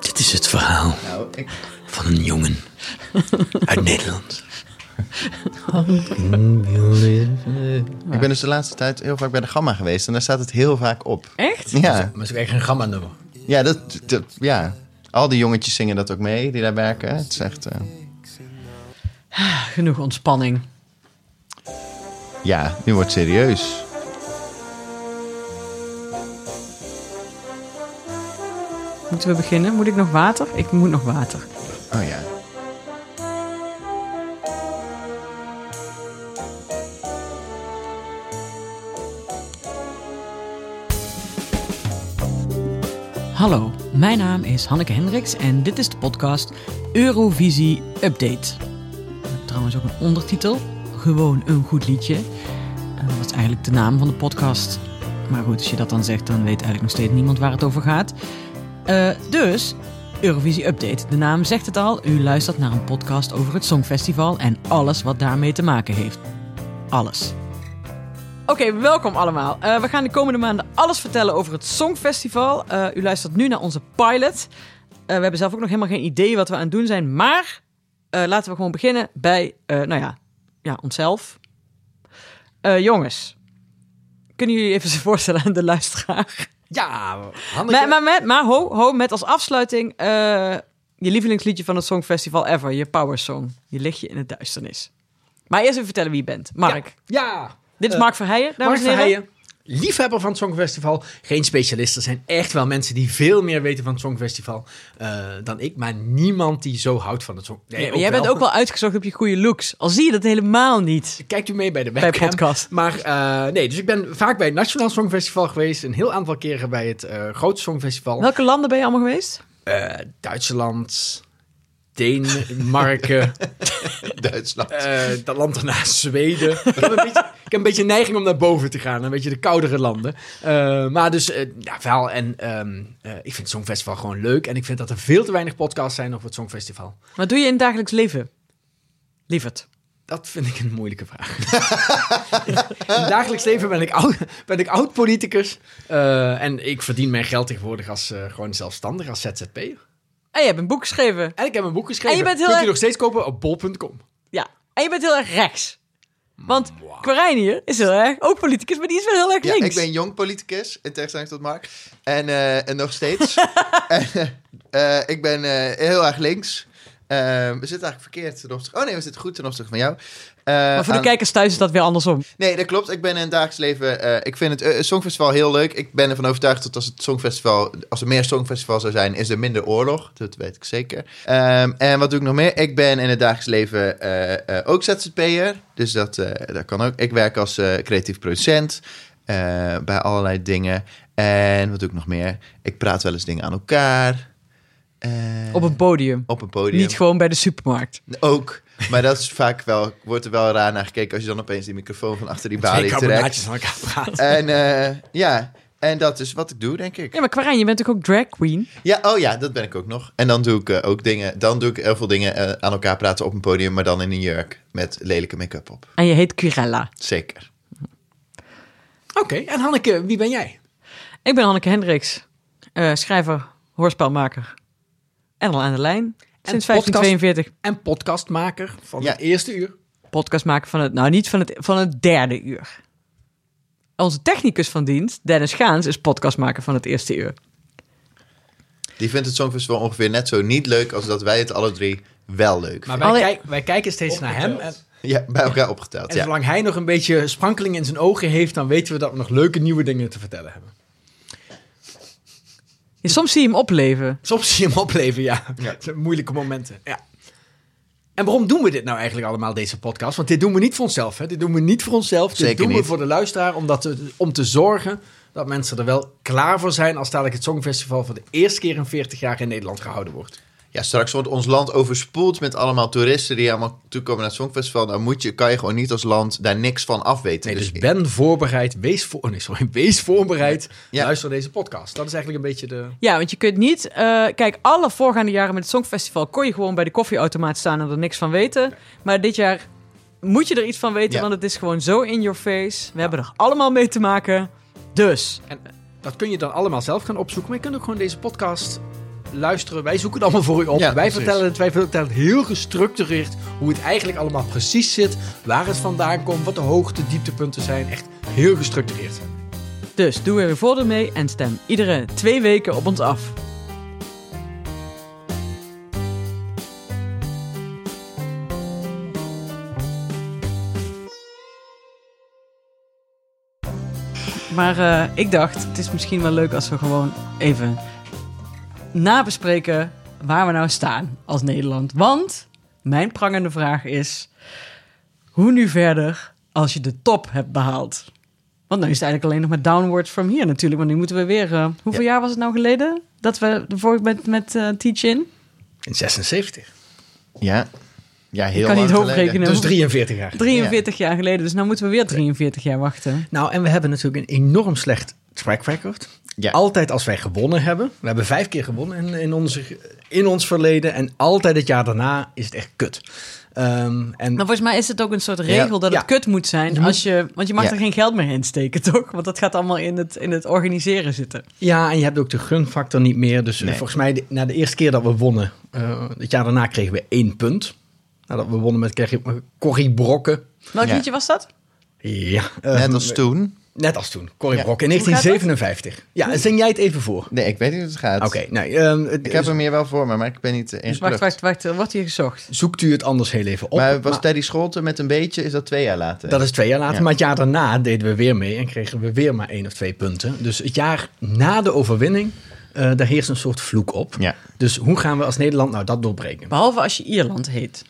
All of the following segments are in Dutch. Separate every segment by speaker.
Speaker 1: Dit is het verhaal
Speaker 2: Nou, ik...
Speaker 1: van een jongen uit Nederland.
Speaker 2: Ik ben dus de laatste tijd heel vaak bij de Gamma geweest en daar staat het heel vaak op.
Speaker 3: Echt?
Speaker 2: Ja,
Speaker 4: Maar het is ook echt een gamma-nummer.
Speaker 2: ja, dat, dat- ja. Al die jongetjes zingen dat ook mee die daar werken. Het is echt, eh,
Speaker 3: Genoeg ontspanning.
Speaker 2: ja, nu wordt het serieus.
Speaker 3: Moeten we beginnen? Moet ik nog water? Ik moet nog water.
Speaker 2: Oh ja.
Speaker 3: Hallo, mijn naam is Hanneke Hendricks en dit is de podcast Eurovisie Update. Ik heb trouwens ook een ondertitel, gewoon een goed liedje. Eh, Dat is eigenlijk de naam van de podcast. Maar goed, als je dat dan zegt, dan weet eigenlijk nog steeds niemand waar het over gaat. Eh, dus, Eurovisie Update. De naam zegt het al, u luistert naar een podcast over het Songfestival en alles wat daarmee te maken heeft. Alles. Oké, welkom allemaal. Eh, we gaan de komende maanden alles vertellen over het Songfestival. Eh, u luistert nu naar onze pilot. Eh, we hebben zelf ook nog helemaal geen idee wat we aan het doen zijn. Maar eh, laten we gewoon beginnen bij, eh, nou ja, ja onszelf. Eh, jongens, kunnen jullie even voorstellen aan de luisteraar?
Speaker 4: Ja, Hanneke.
Speaker 3: Maar, maar, met, maar ho, ho, met als afsluiting eh, je lievelingsliedje van het Songfestival ever. Je power song. Je lichtje in het duisternis. Maar eerst even vertellen wie je bent. Mark.
Speaker 4: Ja.
Speaker 3: Dit is
Speaker 4: Eh,
Speaker 3: Mark Verheijen, dames
Speaker 4: Mark
Speaker 3: en heren.
Speaker 4: Verheijen, liefhebber van het Songfestival. Geen specialist. Er zijn echt wel mensen die veel meer weten van het Songfestival eh, dan ik. Maar niemand die zo houdt van het Songfestival.
Speaker 3: Ja, jij bent ook wel uitgezocht op je goede looks. Al zie je dat helemaal niet.
Speaker 4: Kijkt u mee bij de
Speaker 3: Bij
Speaker 4: webcam.
Speaker 3: podcast.
Speaker 4: Maar eh, nee, dus ik ben vaak bij het Nationaal Songfestival geweest. Een heel aantal keren bij het eh Grote Songfestival.
Speaker 3: Welke landen ben je allemaal geweest?
Speaker 4: Eh, Duitsland, Denemarken,
Speaker 2: Duitsland.
Speaker 4: eh, dat land daarnaast Zweden. ik, heb een beetje, ik heb een beetje neiging om naar boven te gaan, een beetje de koudere landen. Eh, maar dus, eh ja, wel. En ehm, eh, ik vind het Songfestival gewoon leuk. En ik vind dat er veel te weinig podcasts zijn over het Songfestival.
Speaker 3: Wat doe je in het dagelijks leven? Lieverd.
Speaker 4: Dat vind ik een moeilijke vraag. In het dagelijks leven ben ik oud, ben ik oud politicus. Eh, en ik verdien mijn geld tegenwoordig als eh, gewoon zelfstandig, als ZZP'er.
Speaker 3: En je hebt een boek geschreven.
Speaker 4: En ik heb een boek geschreven.
Speaker 3: En je bent heel
Speaker 4: Kunt u
Speaker 3: erg-
Speaker 4: nog steeds kopen op bol.com.
Speaker 3: Ja. En je bent heel erg rechts. Want Quarijn hier is heel erg, ook politicus, maar die is wel heel erg
Speaker 2: Ja,
Speaker 3: links.
Speaker 2: ik ben eh, jong politicus, in tegenstelling tot Mark. En, eh, en nog steeds. En, eh, eh, ik ben eh, heel erg links. Eh, we zitten eigenlijk verkeerd ten opzichte... Oh nee, we zitten goed ten opzichte van jou. Eh,
Speaker 3: maar voor de
Speaker 2: aan-
Speaker 3: kijkers thuis is dat weer andersom.
Speaker 2: Nee, dat klopt. Ik ben in het dagelijks leven... eh, ik vind het eh, Songfestival heel leuk. Ik ben ervan overtuigd dat als het Songfestival... Als er meer Songfestival zou zijn, is er minder oorlog. Dat weet ik zeker. Ehm, en wat doe ik nog meer? Ik ben in het dagelijks leven eh, eh, ook ZZP'er. Dus dat, eh, dat kan ook. Ik werk als eh, creatief producent eh, bij allerlei dingen. En wat doe ik nog meer? Ik praat wel eens dingen aan elkaar. Eh,
Speaker 3: Op een podium.
Speaker 2: op een podium.
Speaker 3: Niet gewoon bij de supermarkt.
Speaker 2: Ook. Maar dat is vaak wel, wordt er wel raar naar gekeken als je dan opeens die microfoon van achter die
Speaker 4: Twee
Speaker 2: balie trekt.
Speaker 4: carbonaatjes aan elkaar praten.
Speaker 2: En eh, ja, en dat is wat ik doe, denk ik.
Speaker 3: Ja, maar Quarijn, je bent toch ook drag queen?
Speaker 2: Ja, oh ja, dat ben ik ook nog. En dan doe ik eh, ook dingen, dan doe ik heel veel dingen eh, aan elkaar praten op een podium, maar dan in een jurk met lelijke make-up op.
Speaker 3: En je heet Quirella.
Speaker 2: Zeker.
Speaker 4: Oké, en Hanneke, wie ben jij?
Speaker 3: Ik ben Hanneke Hendricks, eh, schrijver, hoorspelmaker. En al aan de lijn.
Speaker 4: podcast-
Speaker 3: Sinds 1542.
Speaker 4: En podcastmaker van
Speaker 2: Ja.
Speaker 4: het eerste uur.
Speaker 3: podcast maken van het, nou niet van het, van het derde uur. Onze technicus van dienst, Dennis Gaans, is podcast maken van het eerste uur.
Speaker 2: Die vindt het Songfestival ongeveer net zo niet leuk als dat wij het alle drie wel leuk
Speaker 4: Maar
Speaker 2: vinden.
Speaker 4: wij,
Speaker 3: Alle-
Speaker 4: kijk- wij kijken steeds naar hem. En,
Speaker 2: Ja, bij elkaar opgeteld,
Speaker 4: en
Speaker 2: ja.
Speaker 4: zolang hij nog een beetje sprankeling in zijn ogen heeft, dan weten we dat we nog leuke nieuwe dingen te vertellen hebben.
Speaker 3: Ja, soms zie je hem opleven.
Speaker 4: Soms zie je hem opleven, ja.
Speaker 2: Ja.
Speaker 4: Het zijn moeilijke momenten. Ja. En waarom doen we dit nou eigenlijk allemaal, deze podcast? Want dit doen we niet voor onszelf. Hè? Dit doen we niet voor onszelf.
Speaker 2: Zeker
Speaker 4: dit doen
Speaker 2: niet.
Speaker 4: we voor de luisteraar, omdat we, om te zorgen dat mensen er wel klaar voor zijn als dadelijk het Songfestival voor de eerste keer in 40 jaar in Nederland gehouden wordt.
Speaker 2: Ja, straks wordt ons land overspoeld met allemaal toeristen die allemaal toekomen naar het Songfestival. Dan moet je, kan je gewoon niet als land daar niks van afweten.
Speaker 4: Nee, dus ben voorbereid, wees, voor, oh nee, sorry, wees voorbereid,
Speaker 2: Ja.
Speaker 4: luister deze podcast. Dat is eigenlijk een beetje de...
Speaker 3: Ja, want je kunt niet... eh, kijk, alle voorgaande jaren met het Songfestival... kon je gewoon bij de koffieautomaat staan en er niks van weten. Maar dit jaar moet je er iets van weten,
Speaker 2: Ja.
Speaker 3: want het is gewoon zo in your face. We hebben er allemaal mee te maken. Dus,
Speaker 4: Dat kun je dan allemaal zelf gaan opzoeken, maar je kunt ook gewoon deze podcast luisteren, wij zoeken het allemaal voor u op.
Speaker 2: Ja,
Speaker 4: wij,
Speaker 2: precies.
Speaker 4: vertellen het, wij vertellen het heel gestructureerd hoe het eigenlijk allemaal precies zit. Waar het vandaan komt, wat de hoogte, dieptepunten zijn. Echt heel gestructureerd.
Speaker 3: Dus doe er een voordeel mee en stem iedere twee weken op ons af. Maar eh, ik dacht, het is misschien wel leuk als we gewoon even nabespreken waar we nou staan als Nederland. Want mijn prangende vraag is, hoe nu verder als je de top hebt behaald? Want nu is het eigenlijk alleen nog maar downwards from here natuurlijk. Want nu moeten we weer... eh, hoeveel jaar was het nou geleden? Dat we de vorige met, met eh, Teach-In?
Speaker 4: In 76.
Speaker 2: Ja. Ja, heel
Speaker 3: kan
Speaker 2: lang
Speaker 3: niet hoog
Speaker 2: geleden.
Speaker 3: rekenen.
Speaker 4: Dus 43 jaar.
Speaker 3: 43 jaar geleden. Dus nu moeten we weer 43 jaar wachten.
Speaker 4: Nou, en we hebben natuurlijk een enorm slecht track record.
Speaker 2: Ja.
Speaker 4: Altijd als wij gewonnen hebben. We hebben vijf keer gewonnen in, in, onze, in ons verleden. En altijd het jaar daarna is het echt kut. Ehm, en
Speaker 3: Maar volgens mij is het ook een soort regel dat
Speaker 4: Ja.
Speaker 3: het kut moet zijn. Als Dus je, want je mag
Speaker 2: Ja.
Speaker 3: er geen geld meer in steken, toch? Want dat gaat allemaal in het, in het organiseren zitten.
Speaker 4: ja, en je hebt ook de gunfactor niet meer. Dus eh,
Speaker 2: Nee.
Speaker 4: volgens mij, de- na de eerste keer dat we wonnen, eh, het jaar daarna kregen we één punt. Nadat we wonnen met Corrie- Corrie Brokken.
Speaker 3: Welk
Speaker 2: Ja.
Speaker 3: liedje was dat?
Speaker 4: Ja,
Speaker 2: Net
Speaker 4: ehm,
Speaker 2: als toen.
Speaker 4: Net als toen, Corrie
Speaker 2: Ja.
Speaker 4: Brokken in
Speaker 3: Hoe gaat dat?
Speaker 4: 1957. Ja, en zing jij het even voor?
Speaker 2: Nee, ik weet niet hoe het gaat.
Speaker 4: Oké, nou, ehm, het
Speaker 2: Ik
Speaker 4: is-
Speaker 2: heb hem hier wel voor me, maar ik ben niet eh, ingeplukt.
Speaker 3: Dus Wacht, wacht, wacht. Er wordt hier gezocht.
Speaker 4: zoekt u het anders heel even op.
Speaker 2: maar was
Speaker 4: Maar-
Speaker 2: Teddy Scholten met een beetje, is dat twee jaar later?
Speaker 4: Dat is twee jaar later.
Speaker 2: Ja.
Speaker 4: Maar het jaar daarna deden we weer mee en kregen we weer maar één of twee punten. Dus het jaar na de overwinning, eh, daar heerst een soort vloek op.
Speaker 2: Ja.
Speaker 4: Dus hoe gaan we als Nederland nou dat doorbreken?
Speaker 3: Behalve als je Ierland heet.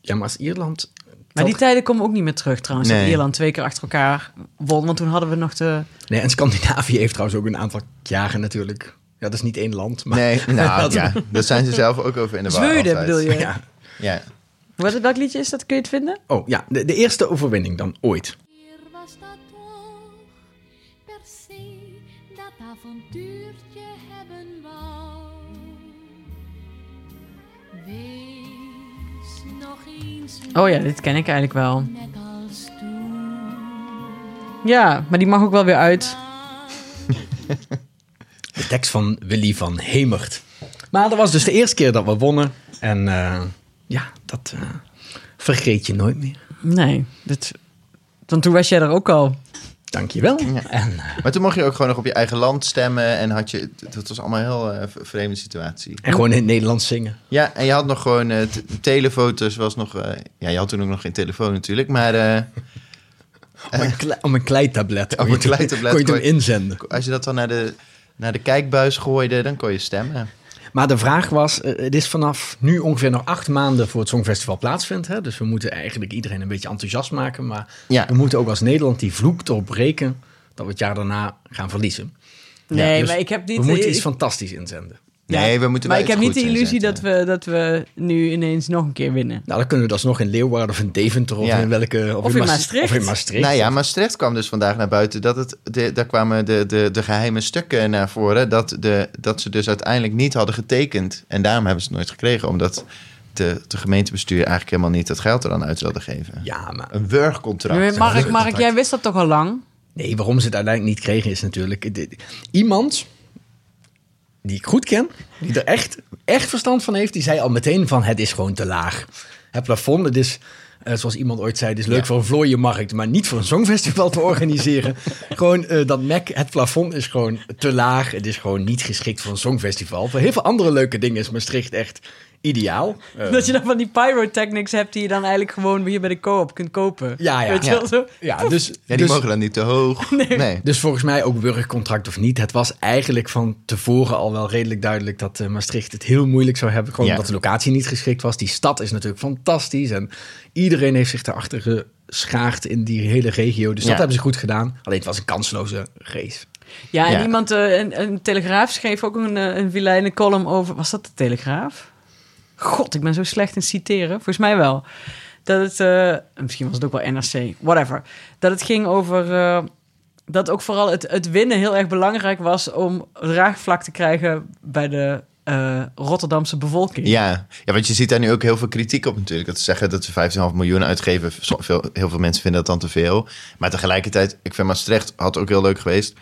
Speaker 4: Ja, maar als Ierland...
Speaker 3: Maar die
Speaker 4: telt-
Speaker 3: tijden komen ook niet meer terug trouwens. Dat
Speaker 2: Nee.
Speaker 3: Ierland twee keer achter elkaar won. Want toen hadden we nog de...
Speaker 4: Nee, en Scandinavië heeft trouwens ook een aantal jaren natuurlijk. Ja, dat is niet één land, maar...
Speaker 2: Nee, nou ja, daar zijn ze zelf ook over in de war
Speaker 3: Zweden
Speaker 2: altijd.
Speaker 3: bedoel je?
Speaker 4: Ja.
Speaker 2: Ja.
Speaker 3: Wat, welk liedje is dat? Kun je het vinden?
Speaker 4: Oh ja, de, de eerste overwinning dan ooit.
Speaker 5: Hier was dat toch per se dat avontuurtje hebben wou. Wees nog eens
Speaker 3: Oh ja, dit ken ik eigenlijk wel.
Speaker 5: net als toen.
Speaker 3: Ja, maar die mag ook wel weer uit.
Speaker 4: De tekst van Willy van Hemert. Maar dat was dus de eerste keer dat we wonnen. En eh, ja, dat eh, vergeet je nooit meer.
Speaker 3: Nee, dit... want toen was jij er ook al.
Speaker 4: Dankjewel.
Speaker 2: Ja.
Speaker 4: En eh,
Speaker 2: Maar toen mocht je ook gewoon nog op je eigen land stemmen en had je, dat was allemaal een heel eh, v- vreemde situatie.
Speaker 4: En gewoon in het Nederlands zingen.
Speaker 2: Ja, en je had nog gewoon, eh, t- telefoto's was nog, eh, ja, je had toen ook nog geen telefoon natuurlijk, maar eh,
Speaker 4: Om een, klei, om een kleitablet. kon je
Speaker 2: een
Speaker 4: toen-
Speaker 2: kleitablet
Speaker 4: Kon je
Speaker 2: kon
Speaker 4: hem
Speaker 2: je-
Speaker 4: inzenden.
Speaker 2: als je dat dan naar de, naar de kijkbuis gooide, dan kon je stemmen.
Speaker 4: Maar de vraag was, eh, het is vanaf nu ongeveer nog acht maanden voor het Songfestival plaatsvindt. Hè? Dus we moeten eigenlijk iedereen een beetje enthousiast maken. Maar
Speaker 2: Ja.
Speaker 4: we moeten ook als Nederland die vloek doorbreken dat we het jaar daarna gaan verliezen.
Speaker 3: Nee,
Speaker 4: dus
Speaker 3: maar ik heb niet...
Speaker 4: we moeten
Speaker 3: ik-
Speaker 4: iets fantastisch inzenden.
Speaker 2: Nee,
Speaker 3: Ja,
Speaker 2: we moeten
Speaker 3: Maar
Speaker 2: wel
Speaker 3: ik heb
Speaker 2: iets
Speaker 3: niet de
Speaker 2: goeds
Speaker 3: illusie dat
Speaker 2: inzetten.
Speaker 3: we, dat we nu ineens nog een keer winnen.
Speaker 4: Nou, dan kunnen we dat alsnog in Leeuwarden of in Deventer of
Speaker 2: Ja.
Speaker 4: in welke...
Speaker 3: Of in
Speaker 4: Maas-
Speaker 3: Maastricht.
Speaker 4: Of in Maastricht.
Speaker 2: Nou ja, Maastricht kwam dus vandaag naar buiten. Dat het, de, daar kwamen de, de, de geheime stukken naar voren. Dat, de, dat ze dus uiteindelijk niet hadden getekend. En daarom hebben ze het nooit gekregen. Omdat de, de gemeentebestuur eigenlijk helemaal niet dat geld er dan uit wilde geven.
Speaker 4: Ja, maar
Speaker 2: Een wurgcontract.
Speaker 3: Maar Mark, Mark, jij wist dat toch al lang?
Speaker 4: Nee, waarom ze het uiteindelijk niet kregen is natuurlijk... dit- Iemand die ik goed ken, die er echt, echt verstand van heeft... die zei al meteen van het is gewoon te laag. Het plafond, het is, eh, zoals iemand ooit zei... het is leuk voor een vlooienmarkt, maar niet voor een songfestival te organiseren. gewoon eh, dat MEC, het plafond is gewoon te laag. Het is gewoon niet geschikt voor een songfestival. Voor heel veel andere leuke dingen is Maastricht echt ideaal. Eh,
Speaker 3: Dat je dan van die pyrotechnics hebt die je dan eigenlijk gewoon hier bij de co-op kunt kopen.
Speaker 4: Eh, Ja, ja.
Speaker 3: Weet je wel
Speaker 2: Ja.
Speaker 3: zo?
Speaker 4: ja, dus,
Speaker 2: Ja, die
Speaker 4: dus-
Speaker 2: mogen dan niet te hoog. Nee.
Speaker 4: Dus volgens mij ook burgercontract of niet. Het was eigenlijk van tevoren al wel redelijk duidelijk dat eh, Maastricht het heel moeilijk zou hebben. Gewoon
Speaker 2: Ja.
Speaker 4: omdat de locatie niet geschikt was. Die stad is natuurlijk fantastisch. En iedereen heeft zich daarachter geschaagd in die hele regio. Dus
Speaker 2: Ja.
Speaker 4: dat hebben ze goed gedaan. Alleen het was een kansloze race.
Speaker 3: Ja, en
Speaker 2: Ja.
Speaker 3: iemand, eh, een, een Telegraaf schreef ook een, eh, een vilijne column over... Was dat de Telegraaf? God, ik ben zo slecht in citeren. Volgens mij wel. Dat het, eh, misschien was het ook wel NRC, whatever. Dat het ging over eh, dat ook vooral het, het winnen heel erg belangrijk was... om draagvlak te krijgen bij de eh, Rotterdamse bevolking.
Speaker 2: Ja. ja, want je ziet daar nu ook heel veel kritiek op natuurlijk. Dat ze zeggen dat ze 15,5 miljoen uitgeven. Zo- veel- Heel veel mensen vinden dat dan te veel. Maar tegelijkertijd, ik vind Maastricht had ook heel leuk geweest.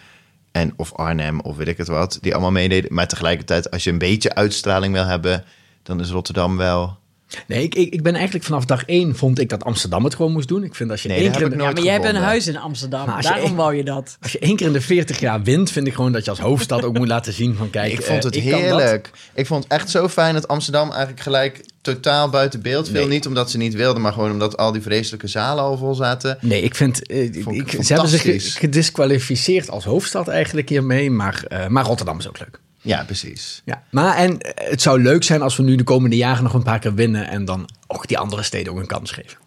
Speaker 2: En of Arnhem of weet ik het wat, die allemaal meededen. Maar tegelijkertijd, als je een beetje uitstraling wil hebben, dan is Rotterdam wel...
Speaker 4: Nee, ik, ik, ik ben eigenlijk vanaf dag één vond ik dat Amsterdam het gewoon moest doen. Ik vind als je,
Speaker 2: Nee,
Speaker 4: één,
Speaker 2: dat
Speaker 4: keer
Speaker 2: heb
Speaker 4: in de,
Speaker 2: ik nooit
Speaker 3: maar jij hebt een
Speaker 2: gevonden.
Speaker 3: huis in Amsterdam,
Speaker 4: Maar als je
Speaker 3: daarom
Speaker 2: e-
Speaker 4: echt-
Speaker 3: wou je dat.
Speaker 4: als je één keer in de 40 jaar wint, vind ik gewoon dat je als hoofdstad ook moet laten zien van kijk,
Speaker 2: Ik vond het
Speaker 4: eh, ik kan dat.
Speaker 2: heerlijk. Ik vond het echt zo fijn dat Amsterdam eigenlijk gelijk totaal buiten beeld viel.
Speaker 4: Nee.
Speaker 2: Niet omdat ze niet wilden, maar gewoon omdat al die vreselijke zalen al vol zaten.
Speaker 4: Nee, ik vind. eh, ik-
Speaker 2: Vond ik
Speaker 4: ik- ze hebben zich ge-
Speaker 2: fantastisch.
Speaker 4: gedisqualificeerd als hoofdstad eigenlijk hiermee. Maar, eh, maar Rotterdam is ook leuk.
Speaker 2: Ja, precies.
Speaker 4: Ja. Maar en eh, het zou leuk zijn als we nu de komende jaren nog een paar keer winnen. En dan ook die andere steden ook een kans geven.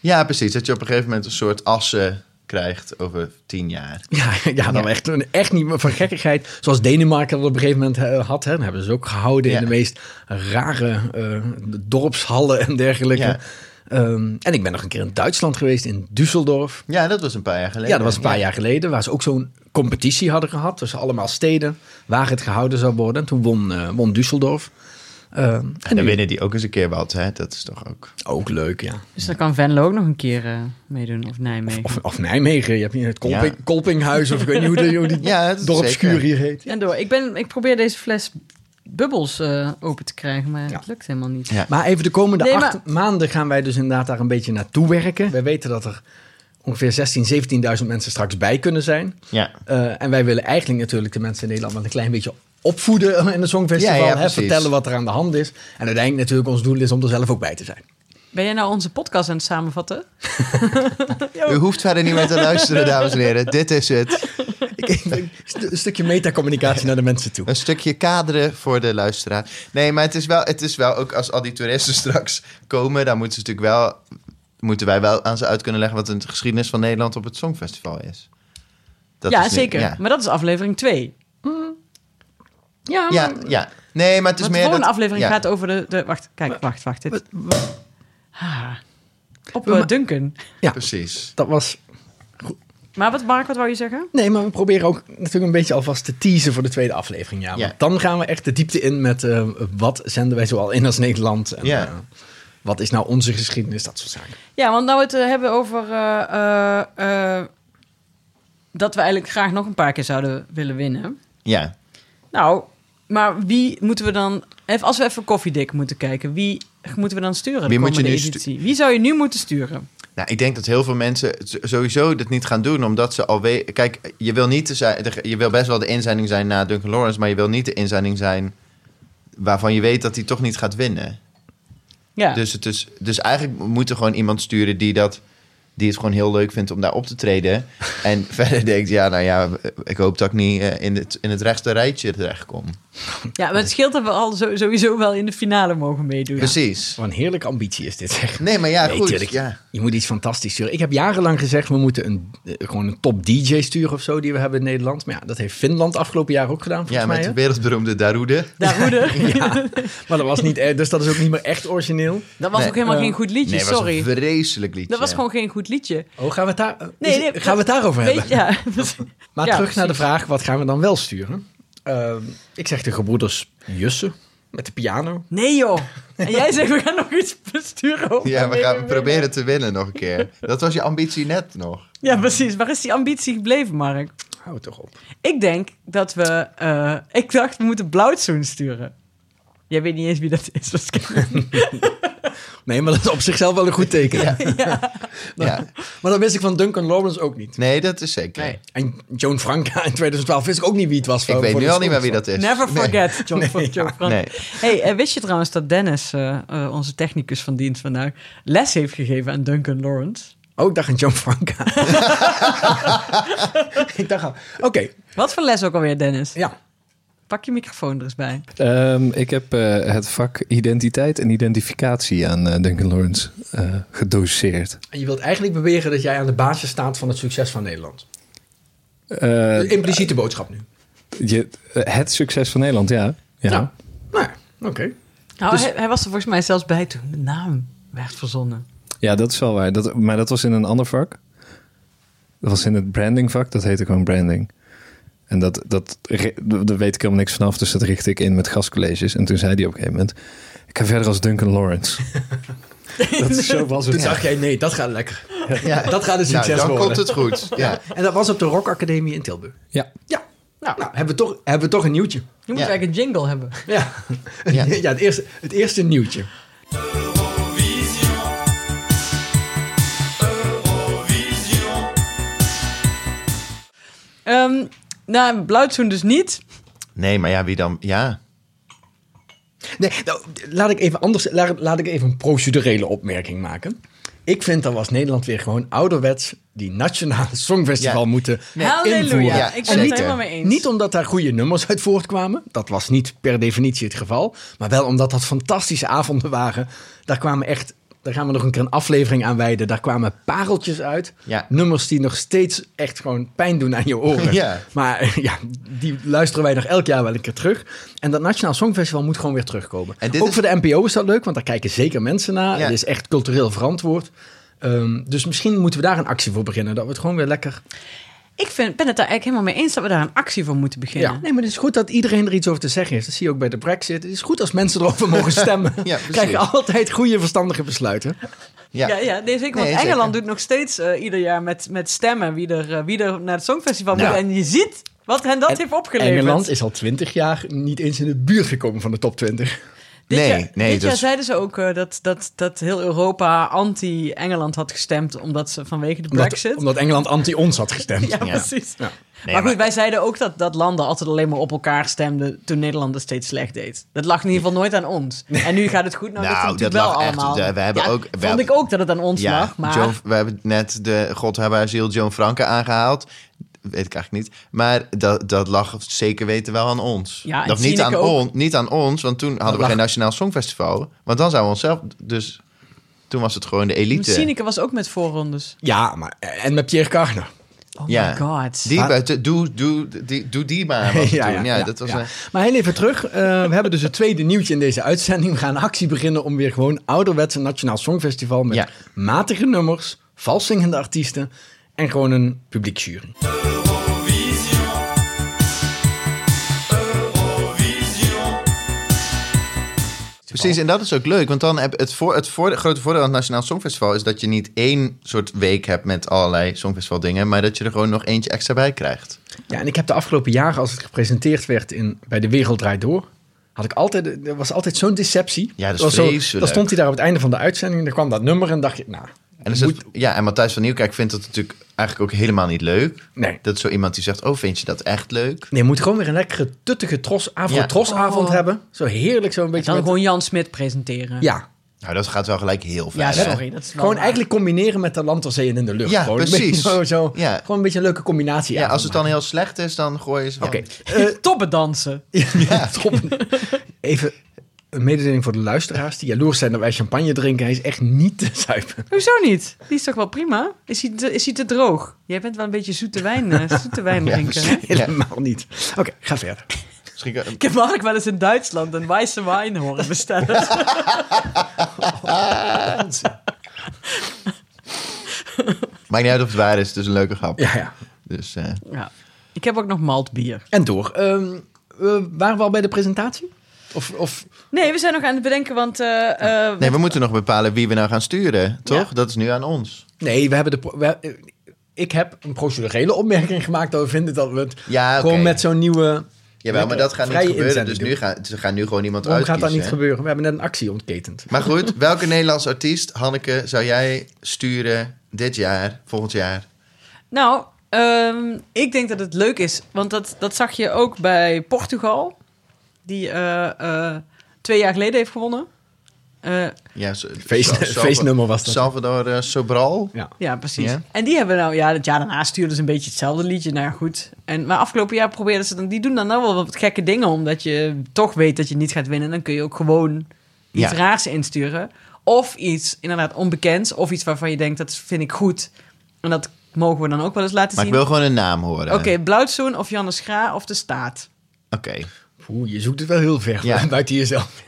Speaker 2: Ja, precies. Dat je op een gegeven moment een soort assen krijgt over tien jaar.
Speaker 4: Ja, ja dan Echt, echt niet meer van gekkigheid. Zoals Denemarken dat op een gegeven moment eh, had. Hè. Dat hebben ze ook gehouden
Speaker 2: Ja.
Speaker 4: in de meest rare eh, dorpshallen en dergelijke.
Speaker 2: Ja.
Speaker 4: Ehm, en ik ben nog een keer in Duitsland geweest, in Düsseldorf.
Speaker 2: Ja, dat was een paar jaar geleden.
Speaker 4: Ja, dat was een paar jaar geleden, waar ze ook zo'n competitie hadden gehad tussen allemaal steden, waar het gehouden zou worden. En toen won, eh, won Düsseldorf. Ehm, en
Speaker 2: En dan
Speaker 4: nu-
Speaker 2: winnen die ook eens een keer wat, hè? Dat is toch ook...
Speaker 4: ook leuk, ja.
Speaker 3: Dus dan kan Venlo ook nog een keer eh, meedoen, of Nijmegen.
Speaker 4: Of, of Nijmegen, je hebt hier het Kolping,
Speaker 2: Ja.
Speaker 4: Kolpinghuis, of ik weet niet hoe, de, hoe die
Speaker 2: Ja, dat is
Speaker 4: dorpskuur
Speaker 2: zeker.
Speaker 4: hier heet.
Speaker 3: En door. Ik, ben, ik probeer deze fles bubbels eh, open te krijgen, maar
Speaker 4: Ja.
Speaker 3: het lukt helemaal niet.
Speaker 2: Ja.
Speaker 4: Maar even de komende
Speaker 3: Nee,
Speaker 4: acht maanden gaan wij dus inderdaad daar een beetje naartoe werken. Wij weten dat er ongeveer 16, 17.000 mensen straks bij kunnen zijn.
Speaker 2: Ja.
Speaker 4: Eh, en wij willen eigenlijk natuurlijk de mensen in Nederland wel een klein beetje opvoeden in het Songfestival.
Speaker 2: Ja, ja,
Speaker 4: hè,
Speaker 2: precies.
Speaker 4: vertellen wat er aan de hand is. En uiteindelijk natuurlijk ons doel is om er zelf ook bij te zijn.
Speaker 3: Ben jij nou onze podcast aan het samenvatten?
Speaker 2: U hoeft verder niet meer te luisteren, dames en heren. Dit is het.
Speaker 4: Ik- ik- st- een stukje metacommunicatie naar de mensen toe.
Speaker 2: Een stukje kaderen voor de luisteraar. Nee, maar het is wel, het is wel ook als al die toeristen straks komen, dan moeten ze natuurlijk wel, moeten wij wel aan ze uit kunnen leggen wat de geschiedenis van Nederland op het Songfestival is. Dat
Speaker 3: ja,
Speaker 2: is nu-
Speaker 3: zeker.
Speaker 2: ja.
Speaker 3: Maar dat is aflevering 2. Ja, maar,
Speaker 2: ja, ja. Nee, maar het is
Speaker 3: want de
Speaker 2: meer.
Speaker 3: volgende
Speaker 2: dat-
Speaker 3: aflevering
Speaker 2: ja.
Speaker 3: gaat over de, de... Wacht, kijk, wacht, wacht. Dit. Ah. op eh,
Speaker 4: Maar-
Speaker 3: Duncan.
Speaker 2: Precies.
Speaker 4: Dat was...
Speaker 3: Maar wat, Mark, wat wou je zeggen?
Speaker 4: Nee, maar we proberen ook natuurlijk een beetje alvast te teasen voor de tweede aflevering. Ja,
Speaker 2: Ja.
Speaker 4: Want dan gaan we echt de diepte in met eh, wat zenden wij zoal in als Nederland. En,
Speaker 2: Ja.
Speaker 4: eh, wat is nou onze geschiedenis, dat soort zaken.
Speaker 3: Ja, want nou we het eh, hebben over eh, eh, eh, dat we eigenlijk graag nog een paar keer zouden willen winnen.
Speaker 2: Ja.
Speaker 3: Nou, maar wie moeten we dan... Even, als we even koffiedik moeten kijken, wie moeten we dan sturen de
Speaker 2: Wie moet je
Speaker 3: komende
Speaker 2: nu stu-
Speaker 3: editie? Wie zou je nu moeten sturen?
Speaker 2: Nou, ik denk dat heel veel mensen s- sowieso dat niet gaan doen, omdat ze al weten. Kijk, je wil niet de, zij- de- je wil best wel de inzending zijn na Duncan Lawrence, maar je wil niet de inzending zijn waarvan je weet dat hij toch niet gaat winnen.
Speaker 3: Ja,
Speaker 2: Dus, het is, dus eigenlijk moet er gewoon iemand sturen die, dat, die het gewoon heel leuk vindt om daar op te treden. En verder denkt, ja, nou ja, ik hoop dat ik niet eh, in het, in het rechte rijtje terechtkom.
Speaker 3: ja maar het scheelt dat we al zo- sowieso wel in de finale mogen meedoen.
Speaker 2: Precies.
Speaker 4: Wat een heerlijke ambitie is dit, zeg.
Speaker 2: Nee, maar ja,
Speaker 4: Nee,
Speaker 2: goed.
Speaker 4: tuurlijk.
Speaker 2: Ja.
Speaker 4: Je moet iets fantastisch sturen. Ik heb jarenlang gezegd, we moeten een, eh, gewoon een top DJ sturen of zo die we hebben in Nederland. Maar ja, dat heeft Finland afgelopen jaar ook gedaan, volgens
Speaker 2: ja,
Speaker 4: mij.
Speaker 2: met
Speaker 4: hè?
Speaker 2: de wereldberoemde Darude.
Speaker 3: Daarhoede.
Speaker 4: Ja, maar dat was niet, eh, dus dat is ook niet meer echt origineel.
Speaker 3: Dat was
Speaker 2: Nee,
Speaker 3: ook helemaal
Speaker 4: eh,
Speaker 3: geen goed liedje,
Speaker 2: Nee, was
Speaker 3: sorry.
Speaker 2: een vreselijk liedje.
Speaker 3: Dat was gewoon geen goed liedje.
Speaker 4: Oh, gaan we het, daar, eh,
Speaker 3: Nee,
Speaker 4: is-
Speaker 3: nee,
Speaker 4: gaan we het daarover
Speaker 3: Weet
Speaker 4: hebben?
Speaker 3: je, ja.
Speaker 4: Maar
Speaker 3: Ja,
Speaker 4: terug naar de
Speaker 3: precies.
Speaker 4: vraag, wat gaan we dan wel sturen? Ehm, ik zeg de gebroeders Jussen met de piano.
Speaker 3: Nee joh. En jij zegt, we gaan nog iets besturen. over
Speaker 2: Ja, we
Speaker 3: meedoen,
Speaker 2: gaan
Speaker 3: winnen.
Speaker 2: proberen te winnen nog een keer. Dat was je ambitie net nog.
Speaker 3: Ja, precies. Waar is die ambitie gebleven, Mark?
Speaker 4: Hou toch op.
Speaker 3: Ik denk dat we... eh, ik dacht, we moeten Blauwtsoen sturen. Jij weet niet eens wie dat is waarschijnlijk.
Speaker 4: Nee, maar dat is op zichzelf wel een goed teken.
Speaker 2: Ja.
Speaker 4: Maar dat wist ik van Duncan Lawrence ook niet.
Speaker 2: Nee, dat is zeker.
Speaker 3: Nee.
Speaker 4: En Joan Franca in 2012 wist ik ook niet wie het was.
Speaker 2: Ik weet nu al niet meer wie dat is.
Speaker 3: Never forget, John, John Frank.
Speaker 2: Nee.
Speaker 3: Hey, eh, wist je trouwens dat Dennis, eh, eh, onze technicus van dienst vandaag, les heeft gegeven aan Duncan Lawrence?
Speaker 4: Oh, ik dacht aan Joan Franca. ik dacht al. Oké,
Speaker 3: Wat voor les ook alweer, Dennis?
Speaker 4: ja.
Speaker 3: Pak je microfoon er eens bij.
Speaker 6: Ehm, ik heb eh, het vak identiteit en identificatie aan eh, Duncan Lawrence eh, gedoseerd.
Speaker 4: En je wilt eigenlijk beweren dat jij aan de basis staat van het succes van Nederland.
Speaker 6: Eh,
Speaker 4: Een impliciete boodschap nu.
Speaker 6: je, eh, het succes van Nederland, ja. ja.
Speaker 4: Ja. Nou, ja, oké.
Speaker 3: Nou, hij, hij was er volgens mij zelfs bij toen de naam werd verzonnen.
Speaker 6: Ja, dat is wel waar. Dat, maar dat was in een ander vak. Dat was in het brandingvak. Dat heette gewoon branding. En dat, dat, ri- daar weet ik helemaal niks vanaf. Dus dat richtte ik in met gastcolleges. En toen zei hij op een gegeven moment... Ik ga verder als Duncan Lawrence. dat is, zo was
Speaker 4: Toen
Speaker 6: het.
Speaker 4: dacht jij, nee, dat gaat lekker.
Speaker 2: Ja.
Speaker 4: Dat gaat een
Speaker 2: Nou,
Speaker 4: succes
Speaker 2: dan
Speaker 4: worden.
Speaker 2: komt het goed. Ja.
Speaker 4: En dat was op de Rock Academie in Tilburg.
Speaker 6: Ja.
Speaker 4: Ja. Nou, hebben, we toch, hebben we toch een nieuwtje.
Speaker 3: Je moet
Speaker 2: Ja.
Speaker 3: eigenlijk een jingle hebben.
Speaker 4: Ja,
Speaker 2: Ja.
Speaker 4: ja. het, eerste, het eerste nieuwtje.
Speaker 3: Ehm nou, Blauwtsoen dus niet.
Speaker 2: Nee, maar ja, wie dan? Ja.
Speaker 4: Nee, nou, laat ik even anders. Laat, laat ik even een procedurele opmerking maken. Ik vind dat we als Nederland weer gewoon ouderwets die nationale songfestival
Speaker 2: Ja.
Speaker 4: moeten
Speaker 3: Halleluja.
Speaker 4: invoeren.
Speaker 2: Ja,
Speaker 3: ik ben
Speaker 2: zeker.
Speaker 3: het helemaal mee eens.
Speaker 4: Niet omdat daar goede nummers uit voortkwamen. Dat was niet per definitie het geval. Maar wel omdat dat fantastische avonden waren. Daar kwamen echt. Daar gaan we nog een keer een aflevering aan wijden. Daar kwamen pareltjes uit.
Speaker 2: Ja.
Speaker 4: Nummers die nog steeds echt gewoon pijn doen aan je oren.
Speaker 2: Ja.
Speaker 4: Maar ja, die luisteren wij nog elk jaar wel een keer terug. En dat Nationaal Songfestival moet gewoon weer terugkomen.
Speaker 2: En dit
Speaker 4: Ook
Speaker 2: is-
Speaker 4: voor de NPO is dat leuk, want daar kijken zeker mensen naar.
Speaker 2: Ja.
Speaker 4: Het is echt cultureel verantwoord. Ehm, dus misschien moeten we daar een actie voor beginnen. Dat we het gewoon weer lekker
Speaker 3: Ik vind, ben het daar eigenlijk helemaal mee eens dat we daar een actie voor moeten beginnen.
Speaker 4: Ja. Nee, maar het is goed dat iedereen er iets over te zeggen heeft. Dat zie je ook bij de brexit. Het is goed als mensen erover mogen stemmen.
Speaker 2: Ja, precies.
Speaker 4: Krijg je altijd goede verstandige besluiten.
Speaker 2: Ja.
Speaker 3: Ja, ja, nee, zeker. Want
Speaker 2: Nee,
Speaker 3: Engeland
Speaker 2: zeker.
Speaker 3: doet nog steeds eh, ieder jaar met, met stemmen wie er, eh, wie er naar het Songfestival
Speaker 4: Nou.
Speaker 3: moet. En je ziet wat hen dat
Speaker 4: En
Speaker 3: heeft opgeleverd.
Speaker 4: Engeland is al twintig jaar niet eens in de buurt gekomen van de top 20.
Speaker 3: Dit
Speaker 2: Nee,
Speaker 3: jaar,
Speaker 2: nee,
Speaker 3: dit jaar
Speaker 2: dus-
Speaker 3: zeiden ze ook eh, dat, dat, dat heel Europa anti-Engeland had gestemd omdat ze vanwege de
Speaker 4: Omdat,
Speaker 3: brexit...
Speaker 4: omdat Engeland anti ons had gestemd.
Speaker 3: ja,
Speaker 2: Ja.
Speaker 3: precies.
Speaker 4: Ja.
Speaker 2: Nee,
Speaker 3: maar goed,
Speaker 2: maar-
Speaker 3: wij zeiden ook dat, dat landen altijd alleen maar op elkaar stemden toen Nederland het steeds slecht deed. Dat lag in ieder geval nooit aan ons. En nu gaat het goed, nou,
Speaker 2: Nou,
Speaker 3: dat natuurlijk
Speaker 2: dat
Speaker 3: wel
Speaker 2: lag echt-
Speaker 3: allemaal.
Speaker 2: we hebben ook- we
Speaker 3: vond
Speaker 2: hebben-
Speaker 3: ik ook dat het aan ons
Speaker 2: ja,
Speaker 3: lag, maar...
Speaker 2: Joan- we hebben net de God hebben haar ziel Joan Franke aangehaald. Weet ik eigenlijk niet. Maar dat, dat lag zeker weten wel aan ons.
Speaker 3: Ja, en
Speaker 2: dat niet
Speaker 3: Sineke
Speaker 2: aan,
Speaker 3: ook.
Speaker 2: on- niet aan ons, want toen hadden we
Speaker 4: lag-
Speaker 2: geen Nationaal Songfestival. Want dan zouden we onszelf... Dus toen was het gewoon de elite.
Speaker 3: Sineke was ook met voorrondes.
Speaker 4: Ja, maar, en met Pierre Carner.
Speaker 3: Oh
Speaker 2: Ja.
Speaker 3: my god.
Speaker 2: Die,
Speaker 4: Maar-
Speaker 2: buiten- doe, doe, die, doe die maar. was het toen. ja, dat was
Speaker 4: ja.
Speaker 2: een-
Speaker 4: Maar heel even terug. eh, we hebben dus het tweede nieuwtje in deze uitzending. We gaan een actie beginnen om weer gewoon ouderwetse Nationaal Songfestival... met
Speaker 2: Ja.
Speaker 4: matige nummers, vals zingende artiesten en gewoon een publieksjury.
Speaker 2: Precies, en dat is ook leuk. Want dan heb het, voor, het, voor, het grote voordeel aan het Nationaal Songfestival... is dat je niet één soort week hebt met allerlei Songfestival dingen... maar dat je er gewoon nog eentje extra bij krijgt.
Speaker 4: Ja, en ik heb de afgelopen jaren, als het gepresenteerd werd in, bij De Wereld Draait Door... Had ik altijd, er was altijd zo'n deceptie.
Speaker 2: Ja, dat is
Speaker 4: Er was zo-
Speaker 2: vreselijk.
Speaker 4: Dan stond hij daar op het einde van de uitzending en dan kwam dat nummer en dacht je, nou,
Speaker 2: En, is het, ja, en Matthijs van Nieuwkijk vindt dat natuurlijk eigenlijk ook helemaal niet leuk.
Speaker 4: nee.
Speaker 2: Dat is zo iemand die zegt, oh, vind je dat echt leuk?
Speaker 4: Nee, je moet gewoon weer een lekkere tuttige tros, afro-trosavond
Speaker 3: Oh.
Speaker 4: hebben. Zo heerlijk, zo'n beetje.
Speaker 3: Dan
Speaker 4: met-
Speaker 3: gewoon Jan Smit presenteren.
Speaker 4: Ja,
Speaker 2: Nou, dat gaat wel gelijk heel ver.
Speaker 3: Ja,
Speaker 2: hè?
Speaker 3: sorry. Dat is wel
Speaker 4: Gewoon
Speaker 3: waar.
Speaker 4: eigenlijk combineren met de land als zee en in de lucht.
Speaker 2: Ja,
Speaker 4: gewoon Een
Speaker 2: precies.
Speaker 4: beetje zo, zo,
Speaker 2: Ja.
Speaker 4: Gewoon een beetje een leuke combinatie.
Speaker 2: Ja, als het dan
Speaker 4: eigenlijk
Speaker 2: heel slecht is, dan gooien ze... van-
Speaker 4: maken. Oké.
Speaker 3: Eh, Toppen dansen.
Speaker 4: Ja, top. Even een mededeling voor de luisteraars die jaloers zijn dat wij champagne drinken. Hij is echt niet te zuipen.
Speaker 3: Hoezo niet? Die is toch wel prima? Is hij te, is hij te droog? Jij bent wel een beetje zoete wijn, eh, zoete wijn drinken, hè?
Speaker 4: Helemaal niet. Oké, ga verder.
Speaker 2: Misschien kan-
Speaker 3: Ik heb eigenlijk wel eens in Duitsland een wijze wijn horen bestellen.
Speaker 2: Maakt niet uit of het waar is, het is een leuke grap.
Speaker 4: Ja, ja.
Speaker 2: Dus eh,
Speaker 3: Ja. Ik heb ook nog maltbier.
Speaker 4: En door. Ehm, eh, waren we al bij de presentatie? Of, of
Speaker 3: Nee, we zijn nog aan het bedenken, want... eh, eh,
Speaker 2: Nee, we moeten nog bepalen wie we nou gaan sturen, toch? Dat is nu aan ons.
Speaker 4: nee, we hebben de. pro- we- eh, ik heb een procedurele opmerking gemaakt dat we vinden dat we het
Speaker 2: Ja, oké.
Speaker 4: gewoon met zo'n nieuwe.
Speaker 2: Jawel, maar dat gaat niet
Speaker 4: vrije
Speaker 2: gebeuren. Dus
Speaker 4: inzending
Speaker 2: nu gaan, ze gaan nu gewoon iemand
Speaker 4: Waarom gaat
Speaker 2: uitkiezen.
Speaker 4: dat niet gebeuren? We hebben net een actie ontketend.
Speaker 2: Maar goed, welke Nederlandse artiest, Hanneke, zou jij sturen dit jaar, volgend jaar?
Speaker 3: Nou, ehm, ik denk dat het leuk is. Want dat, dat zag je ook bij Portugal. Die eh, eh, twee jaar geleden heeft gewonnen. Eh,
Speaker 2: Ja, so-
Speaker 4: Feest-
Speaker 2: Sal- Sal-
Speaker 4: feestnummer was dat.
Speaker 2: Salvador eh, Sobral.
Speaker 4: Ja.
Speaker 3: ja, precies.
Speaker 2: Ja.
Speaker 3: En die hebben nou... Ja, het jaar daarna stuurden ze een beetje hetzelfde liedje. Nou ja, goed. En, maar afgelopen jaar probeerden ze dan... Die doen dan nou wel wat gekke dingen. Omdat je toch weet dat je niet gaat winnen. Dan kun je ook gewoon iets
Speaker 2: Ja.
Speaker 3: raars insturen. Of iets inderdaad onbekends. Of iets waarvan je denkt, dat vind ik goed. En dat mogen we dan ook wel eens laten
Speaker 2: Maar ik
Speaker 3: zien.
Speaker 2: wil gewoon een naam horen.
Speaker 3: Oké, Blauwtsoen of Janne Schra of De Staat.
Speaker 2: Oké.
Speaker 4: Oeh, je zoekt het wel heel ver
Speaker 2: Ja.
Speaker 4: buiten jezelf.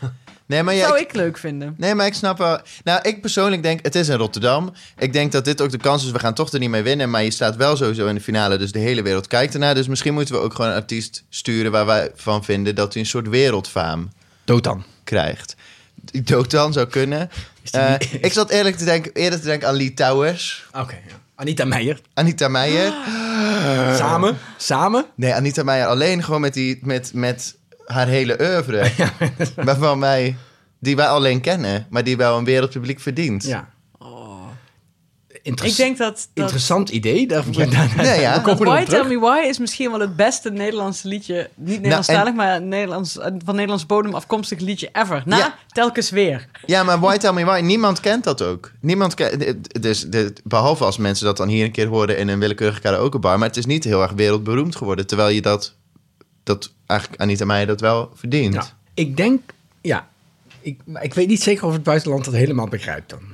Speaker 2: Nee, maar
Speaker 3: Zou
Speaker 2: jij...
Speaker 3: ik leuk vinden.
Speaker 2: Nee, maar ik snap wel. Nou, ik persoonlijk denk, het is in Rotterdam. Ik denk dat dit ook de kans is. We gaan toch er niet mee winnen. Maar je staat wel sowieso in de finale. Dus de hele wereld kijkt ernaar. Dus misschien moeten we ook gewoon een artiest sturen waar wij van vinden dat hij een soort wereldfaam
Speaker 4: Dood dan.
Speaker 2: krijgt. die dood dan zou kunnen.
Speaker 4: die
Speaker 2: Eh,
Speaker 4: niet-
Speaker 2: ik zat eerlijk te denken, eerder te denken aan Lee Towers,
Speaker 4: Oké, ja. Anita Meijer.
Speaker 2: Anita Meijer.
Speaker 3: Eh.
Speaker 4: Samen. Samen.
Speaker 2: Nee, Anita Meijer alleen gewoon met, die, met, met haar hele oeuvre. waarvan wij, die wij alleen kennen, maar die wel een wereldpubliek verdient.
Speaker 4: Ja.
Speaker 3: Ik denk dat, dat
Speaker 4: Oh. Interessant idee. Daar, daar- daar-
Speaker 2: Nee, ja.
Speaker 4: we
Speaker 3: Dat
Speaker 4: komen
Speaker 3: Why
Speaker 4: erop
Speaker 3: Tell
Speaker 4: terug.
Speaker 3: Me Why is misschien wel het beste Nederlandse liedje. Niet Nederlandstalig, maar Nederlands, eh, van Nederlands bodem afkomstig liedje ever. Na
Speaker 2: Ja.
Speaker 3: telkens weer.
Speaker 2: Ja, maar Why Tell Me Why, niemand kent dat ook. Niemand kent, dus, de- behalve als mensen dat dan hier een keer horen in een willekeurige karaokebar. Maar het is niet heel erg wereldberoemd geworden. Terwijl je dat, dat eigenlijk Anita Meijer dat wel verdient.
Speaker 4: Ja. Ik denk, ja. Ik, maar ik weet niet zeker of het buitenland dat helemaal begrijpt dan.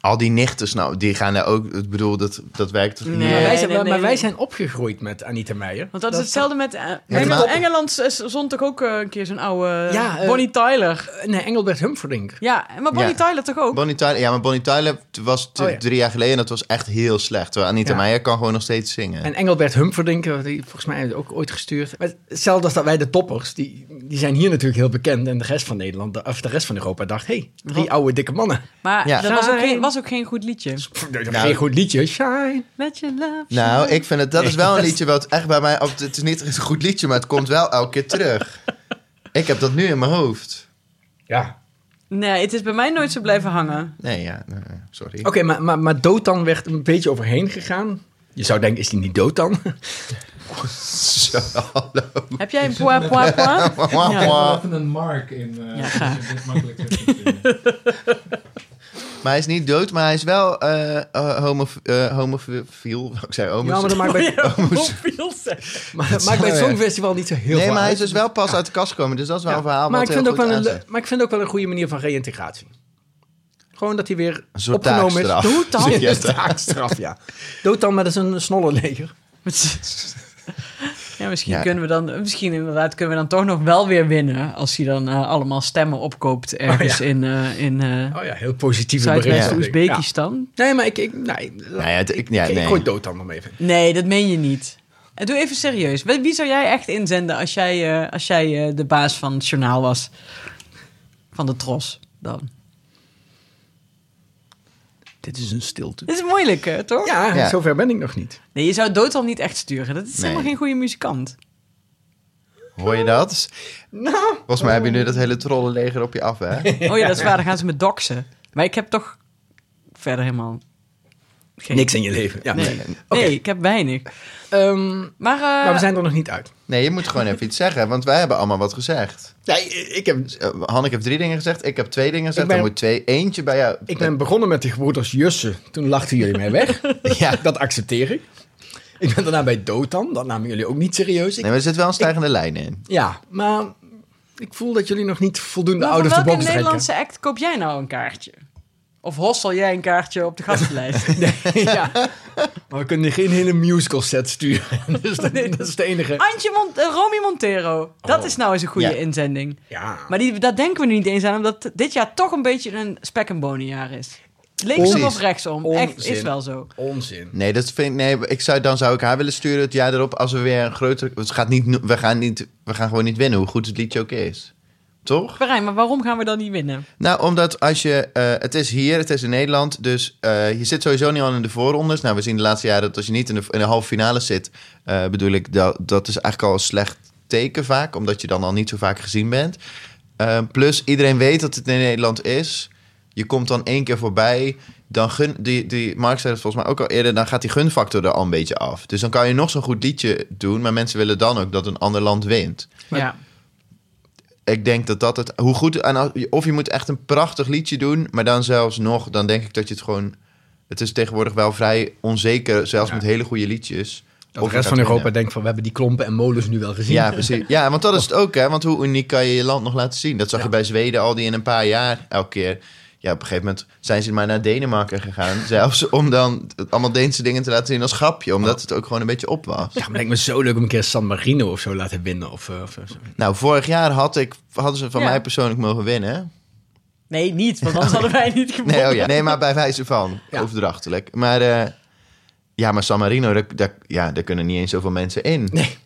Speaker 2: Al die nichten, nou, die gaan daar ook... Ik bedoel, dat, dat werkt...
Speaker 3: Nee.
Speaker 4: maar, wij zijn,
Speaker 3: nee,
Speaker 4: maar
Speaker 3: nee.
Speaker 4: wij zijn opgegroeid met Anita Meijer.
Speaker 3: Want dat, is hetzelfde met... eh,
Speaker 2: maar-
Speaker 3: Engeland, Engeland is- zond toch ook eh, een keer zo'n oude...
Speaker 4: Ja, eh,
Speaker 3: Bonnie Tyler.
Speaker 4: Eh, Nee, Engelbert Humperdinck.
Speaker 3: Ja, maar Bonnie
Speaker 2: Ja.
Speaker 3: Tyler toch ook?
Speaker 2: Bonnie Tyler, ja, maar Bonnie Tyler was t-
Speaker 4: Oh, ja.
Speaker 2: drie jaar geleden en dat was echt heel slecht. Terwijl Anita
Speaker 4: Ja.
Speaker 2: Meijer kan gewoon nog steeds zingen.
Speaker 4: En Engelbert Humperdinck, eh, die volgens mij hebben we ook ooit gestuurd. Maar hetzelfde als dat wij de toppers, die, die zijn hier natuurlijk heel bekend. En de rest van Nederland, of de rest van Europa dacht, hé, hey, drie oude dikke mannen.
Speaker 3: maar
Speaker 2: Ja.
Speaker 3: dat was ook, geen,
Speaker 4: Shine.
Speaker 3: was ook geen goed liedje.
Speaker 4: Pff, dat is
Speaker 2: Nou.
Speaker 4: geen goed liedje. Shine.
Speaker 3: Let your love
Speaker 2: Nou, ik vind het, dat is wel een liedje wat echt bij mij... op- Het is niet een goed liedje, maar het komt wel elke keer terug. Ik heb dat nu in mijn hoofd.
Speaker 4: Ja.
Speaker 3: Nee, het is bij mij nooit zo blijven hangen.
Speaker 2: Nee, ja, nee, nee, sorry.
Speaker 4: Oké, maar, maar, maar dood dan werd een beetje overheen gegaan. Je zou denken, is die niet dood dan?
Speaker 2: Zo, hallo.
Speaker 3: Heb jij een poa poa poa? Ja.
Speaker 7: Even een mark in. eh
Speaker 3: Ja,
Speaker 7: ja,
Speaker 3: ga.
Speaker 7: dit makkelijk terug kunt vinden.
Speaker 2: Maar hij is niet dood, maar hij is wel eh eh, homo, eh, homofiel. Ik zei homo.
Speaker 4: Ja, maar dat maakt bij,
Speaker 3: Hoeveel zeg.
Speaker 4: maar, dat maakt bij het
Speaker 2: zou-
Speaker 4: Songfestival niet zo heel
Speaker 2: nee,
Speaker 4: veel
Speaker 2: maar hij is
Speaker 4: uit.
Speaker 2: dus wel pas uit de kast gekomen. Dus dat is wel
Speaker 4: Ja,
Speaker 2: een verhaal
Speaker 4: maar
Speaker 2: wat
Speaker 4: ik vind
Speaker 2: heel
Speaker 4: ook wel
Speaker 2: goed
Speaker 4: een,
Speaker 2: aanzet.
Speaker 4: le- Maar ik vind ook wel een goede manier van reïntegratie. Gewoon dat hij weer
Speaker 2: Een soort
Speaker 4: opgenomen
Speaker 2: taakstraf.
Speaker 4: is. Dood dan.
Speaker 2: Zeg jij
Speaker 4: Een taakstraf, ja. Dood dan, maar dat is een snollenleger.
Speaker 3: Ja, misschien
Speaker 2: Ja.
Speaker 3: kunnen we dan, misschien inderdaad, kunnen we dan toch nog wel weer winnen. Als hij dan eh, allemaal stemmen opkoopt ergens
Speaker 4: Oh, ja.
Speaker 3: in, eh, in eh,
Speaker 4: Oh ja, heel positieve berichten.
Speaker 3: Zuidwest-Oezbekistan.
Speaker 4: Ja. Nee, maar ik... ik, nee,
Speaker 2: Nou ja, het- ik, ja,
Speaker 4: ik,
Speaker 2: nee.
Speaker 4: ik gooi dood dan nog even.
Speaker 3: Nee, dat meen je niet. Eh, Doe even serieus. Wie wie zou jij echt inzenden als jij, eh, als jij eh, de baas van het journaal was? Van de tros dan.
Speaker 4: Dit is een stilte.
Speaker 3: Dit is moeilijk, hè, toch?
Speaker 4: Ja,
Speaker 2: Ja.
Speaker 4: zover ben ik nog niet.
Speaker 3: Nee, je zou Dotan niet echt sturen. Dat is helemaal
Speaker 2: Nee.
Speaker 3: geen goede muzikant.
Speaker 2: Hoor je dat?
Speaker 4: Nou.
Speaker 2: Volgens mij heb je nu dat hele trollenleger op je af, hè?
Speaker 3: Oh ja, dat is waar. Dan gaan ze me doxen. Maar ik heb toch verder helemaal... Geen...
Speaker 4: Niks in je leven. Ja.
Speaker 3: Nee.
Speaker 4: Nee.
Speaker 3: nee, ik heb weinig.
Speaker 4: Ehm,
Speaker 3: Maar, eh,
Speaker 4: maar we zijn er nog niet uit.
Speaker 2: Nee, je moet gewoon even iets zeggen, want wij hebben allemaal wat gezegd.
Speaker 4: Ja, ik, heb,
Speaker 2: Dus, eh, Hanneke heeft drie dingen gezegd, ik heb twee dingen gezegd.
Speaker 4: Ik ben-
Speaker 2: Dan moet twee, eentje bij jou.
Speaker 4: ik ben begonnen met de gebroeders Jussen. Toen lachten jullie mij weg.
Speaker 2: Ja.
Speaker 4: Dat accepteer ik. Ik ben daarna bij Dotan. Dat namen jullie ook niet serieus. Ik
Speaker 2: Nee, maar er zit wel een stijgende lijn in.
Speaker 4: Ja, maar ik voel dat jullie nog niet voldoende
Speaker 3: maar
Speaker 4: out
Speaker 3: voor
Speaker 4: of the
Speaker 3: welke
Speaker 4: box trekken.
Speaker 3: Nederlandse act koop jij nou een kaartje? Of hossel jij een kaartje op de gastenlijst?
Speaker 4: ja. Maar we kunnen geen hele musical set sturen. dus dat, dat is het enige.
Speaker 3: Antje Mon eh, Romy Montero. Dat is nou eens een goede
Speaker 2: Oh. Ja.
Speaker 3: inzending.
Speaker 4: Ja.
Speaker 3: Maar die, daar denken we nu niet eens aan, omdat dit jaar toch een beetje een spek en bonen jaar is. Linksom of
Speaker 2: Precies.
Speaker 3: rechtsom. Echt, is
Speaker 4: Onzin.
Speaker 3: wel zo.
Speaker 4: Onzin.
Speaker 2: Nee, dat vind ik, nee ik zou, dan zou ik haar willen sturen het jaar erop als we weer een grotere... Het gaat niet, no- we, gaan niet, we gaan gewoon niet winnen, hoe goed het liedje ook is. Toch?
Speaker 3: Marijn, maar waarom gaan we dan niet winnen?
Speaker 2: Nou, omdat als je... eh, het is hier, het is in Nederland, dus eh, je zit sowieso niet al in de voorrondes. Nou, we zien de laatste jaren dat als je niet in de, in de halve finale zit, eh, bedoel ik, dat, dat is eigenlijk al een slecht teken vaak, omdat je dan al niet zo vaak gezien bent. Eh, plus, iedereen weet dat het in Nederland is. Je komt dan één keer voorbij. Dan gun, die, die, Mark zei het volgens mij ook al eerder. Dan gaat die gunfactor er al een beetje af. Dus dan kan je nog zo'n goed liedje doen. Maar mensen willen dan ook dat een ander land wint.
Speaker 3: ja.
Speaker 2: Ik denk dat dat het. Hoe goed. En als- of je moet echt een prachtig liedje doen. Maar dan zelfs nog. Dan denk ik dat je het gewoon. Het is tegenwoordig wel vrij onzeker. Zelfs met hele goede liedjes.
Speaker 4: Dat de
Speaker 2: of je
Speaker 4: rest
Speaker 2: gaat
Speaker 4: van Europa
Speaker 2: winnen.
Speaker 4: denkt van, we hebben die klompen en molens nu wel gezien.
Speaker 2: Ja, precies. Ja, want dat is het ook, hè? Want hoe uniek kan je je land nog laten zien? Dat zag je bij Zweden al die in een paar jaar elke keer. Ja, op een gegeven moment zijn ze maar naar Denemarken gegaan. Zelfs om dan allemaal Deense dingen te laten zien als grapje. Omdat het ook gewoon een beetje op was.
Speaker 4: Ja, maar lijkt me zo leuk om een keer San Marino of zo laten winnen. Of, eh, of zo.
Speaker 2: Nou, vorig jaar had ik, hadden ze van
Speaker 3: Ja.
Speaker 2: mij persoonlijk mogen winnen.
Speaker 3: Nee, niet, want anders hadden wij niet gewonnen.
Speaker 2: Nee, oh ja. nee maar bij wijze van.
Speaker 4: Ja.
Speaker 2: Overdrachtelijk. Maar eh, ja, maar San Marino, daar, daar- ja, daar kunnen niet eens zoveel mensen in.
Speaker 4: Nee.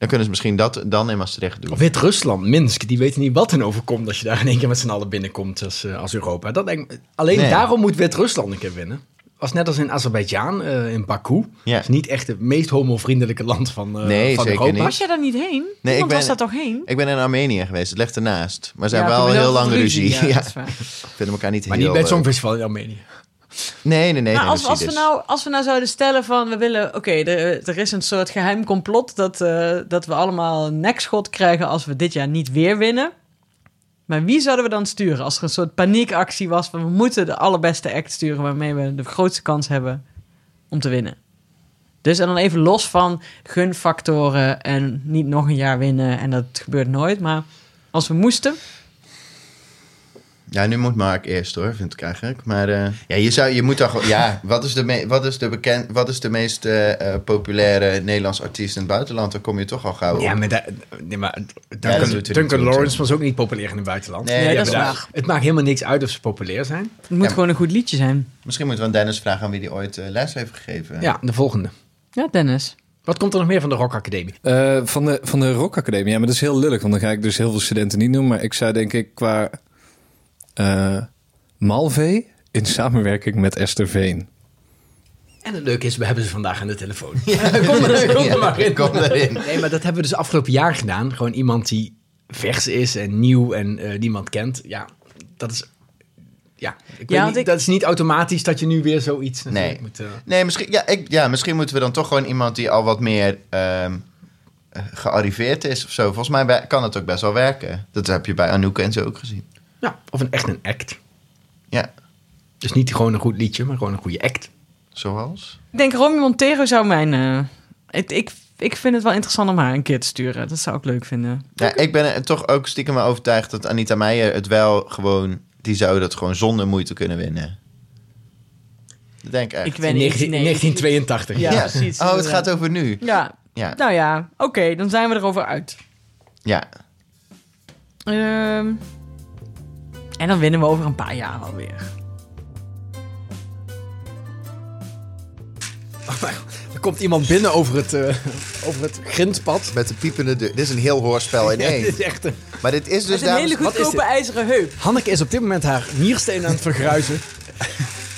Speaker 2: Dan kunnen ze misschien dat dan in Maastricht doen.
Speaker 4: Of Wit-Rusland, Minsk, die weten niet wat hen overkomt als je daar in één keer met z'n allen binnenkomt als, eh, als Europa. Dat denk ik- alleen
Speaker 2: Nee.
Speaker 4: daarom moet Wit-Rusland een keer winnen. Als net als in Azerbeidzjan, eh, in Baku.
Speaker 2: Ja.
Speaker 4: Dat is niet echt het meest homovriendelijke land van, eh
Speaker 2: Nee,
Speaker 4: van
Speaker 2: zeker
Speaker 4: Europa.
Speaker 2: niet.
Speaker 3: Was jij daar niet heen? Nee,
Speaker 2: ik ben-
Speaker 3: was daar toch heen?
Speaker 2: Ik ben in Armenië geweest, het ligt ernaast. Maar ze hebben
Speaker 3: toen
Speaker 2: wel
Speaker 3: wel
Speaker 2: heel
Speaker 3: wat
Speaker 2: lang ruzie. Ja,
Speaker 3: Ja, dat is waar.
Speaker 2: vinden elkaar niet
Speaker 4: Maar niet
Speaker 2: heel eh,
Speaker 4: bij het
Speaker 2: leuk.
Speaker 4: Songfestival in Armenië.
Speaker 2: Nee, nee, dus. nee.
Speaker 3: Maar als,
Speaker 2: nee,
Speaker 3: als, we
Speaker 2: precies.
Speaker 3: nou, als we nou zouden stellen van we willen, oké, er, er is een soort geheim complot dat, eh, dat we allemaal een nekschot krijgen als we dit jaar niet weer winnen. Maar wie zouden we dan sturen als er een soort paniekactie was van we moeten de allerbeste act sturen waarmee we de grootste kans hebben om te winnen? Dus en dan even los van gunfactoren en niet nog een jaar winnen en dat gebeurt nooit. Maar als we moesten,
Speaker 2: Ja, nu moet Mark eerst hoor, vind ik eigenlijk. Maar eh, ja, je, zou, je moet toch... wel- Ja, wat is de, me- wat is de, bekend, wat is de meest eh, eh, populaire Nederlands artiest in het buitenland? Dan kom je toch al gauw op.
Speaker 4: Ja, maar, daar- nee, maar
Speaker 2: Oh. dat doet er
Speaker 4: Duncan,
Speaker 2: niet
Speaker 4: Duncan
Speaker 2: toe,
Speaker 4: Lawrence
Speaker 2: toch?
Speaker 4: was ook niet populair in het buitenland.
Speaker 2: Nee,
Speaker 3: Nee,
Speaker 2: ja,
Speaker 3: dat is
Speaker 2: maar
Speaker 3: waar.
Speaker 2: daar-
Speaker 4: Het maakt helemaal niks uit of ze populair zijn.
Speaker 3: het moet
Speaker 2: Ja.
Speaker 3: gewoon een goed liedje zijn.
Speaker 2: Misschien moeten we aan Dennis vragen aan wie die ooit eh, les heeft gegeven.
Speaker 4: Ja, de volgende.
Speaker 3: Ja, Dennis.
Speaker 4: Wat komt er nog meer van de Rock Academie?
Speaker 6: Eh, van, de, van de Rock Academie. Ja, maar dat is heel lullig, want dan ga ik dus heel veel studenten niet noemen. Maar ik zou denk ik qua eh Malve in samenwerking met Esther Veen.
Speaker 4: En het leuke is, we hebben ze vandaag aan de telefoon. kom er, kom er maar in.
Speaker 2: Kom erin.
Speaker 4: Nee, maar dat hebben we dus afgelopen jaar gedaan. Gewoon iemand die vers is en nieuw en eh, niemand kent. Ja, dat is... Ja, ik weet
Speaker 3: want
Speaker 4: niet,
Speaker 3: ik-
Speaker 4: dat is niet automatisch dat je nu weer zoiets... natuurlijk
Speaker 2: Nee.
Speaker 4: Moet, eh,
Speaker 2: Nee, misschien, ja, ik, ja, misschien moeten we dan toch gewoon iemand die al wat meer ehm, eh, gearriveerd is of zo. Volgens mij wer- kan het ook best wel werken. Dat heb je bij Anouk en zo ook gezien.
Speaker 4: ja, of een, echt een act.
Speaker 2: Ja,
Speaker 4: Dus niet gewoon een goed liedje, maar gewoon een goede act.
Speaker 2: zoals?
Speaker 3: Ik denk Romy Montero zou mijn... eh, het, ik, ik vind het wel interessant om haar een keer te sturen. Dat zou ik leuk vinden.
Speaker 2: Ja, ik ben er toch ook stiekem wel overtuigd dat Anita Meijer het wel gewoon... Die zou dat gewoon zonder moeite kunnen winnen. Dat denk ik echt.
Speaker 3: Ik weet
Speaker 4: in
Speaker 3: niet.
Speaker 4: 19-
Speaker 3: nee.
Speaker 4: 1982.
Speaker 3: Ja, precies,
Speaker 2: Oh, het
Speaker 3: inderdaad.
Speaker 2: gaat over nu.
Speaker 3: Ja,
Speaker 2: Ja,
Speaker 3: nou ja. Oké, dan zijn we erover uit.
Speaker 2: ja.
Speaker 3: Ehm, en dan winnen we over een paar jaar
Speaker 4: Dus
Speaker 3: alweer.
Speaker 4: Er komt iemand binnen over het, eh, over het grindpad.
Speaker 2: Met de piepende deur. Dit is een heel hoorspel in
Speaker 4: Dit is echt een-
Speaker 2: Maar dit is
Speaker 3: Dus
Speaker 2: dus...
Speaker 3: een hele
Speaker 4: wat is
Speaker 3: goedkope
Speaker 4: dit?
Speaker 3: ijzeren heup.
Speaker 4: Hanneke is op dit moment haar niersteen aan het vergruizen.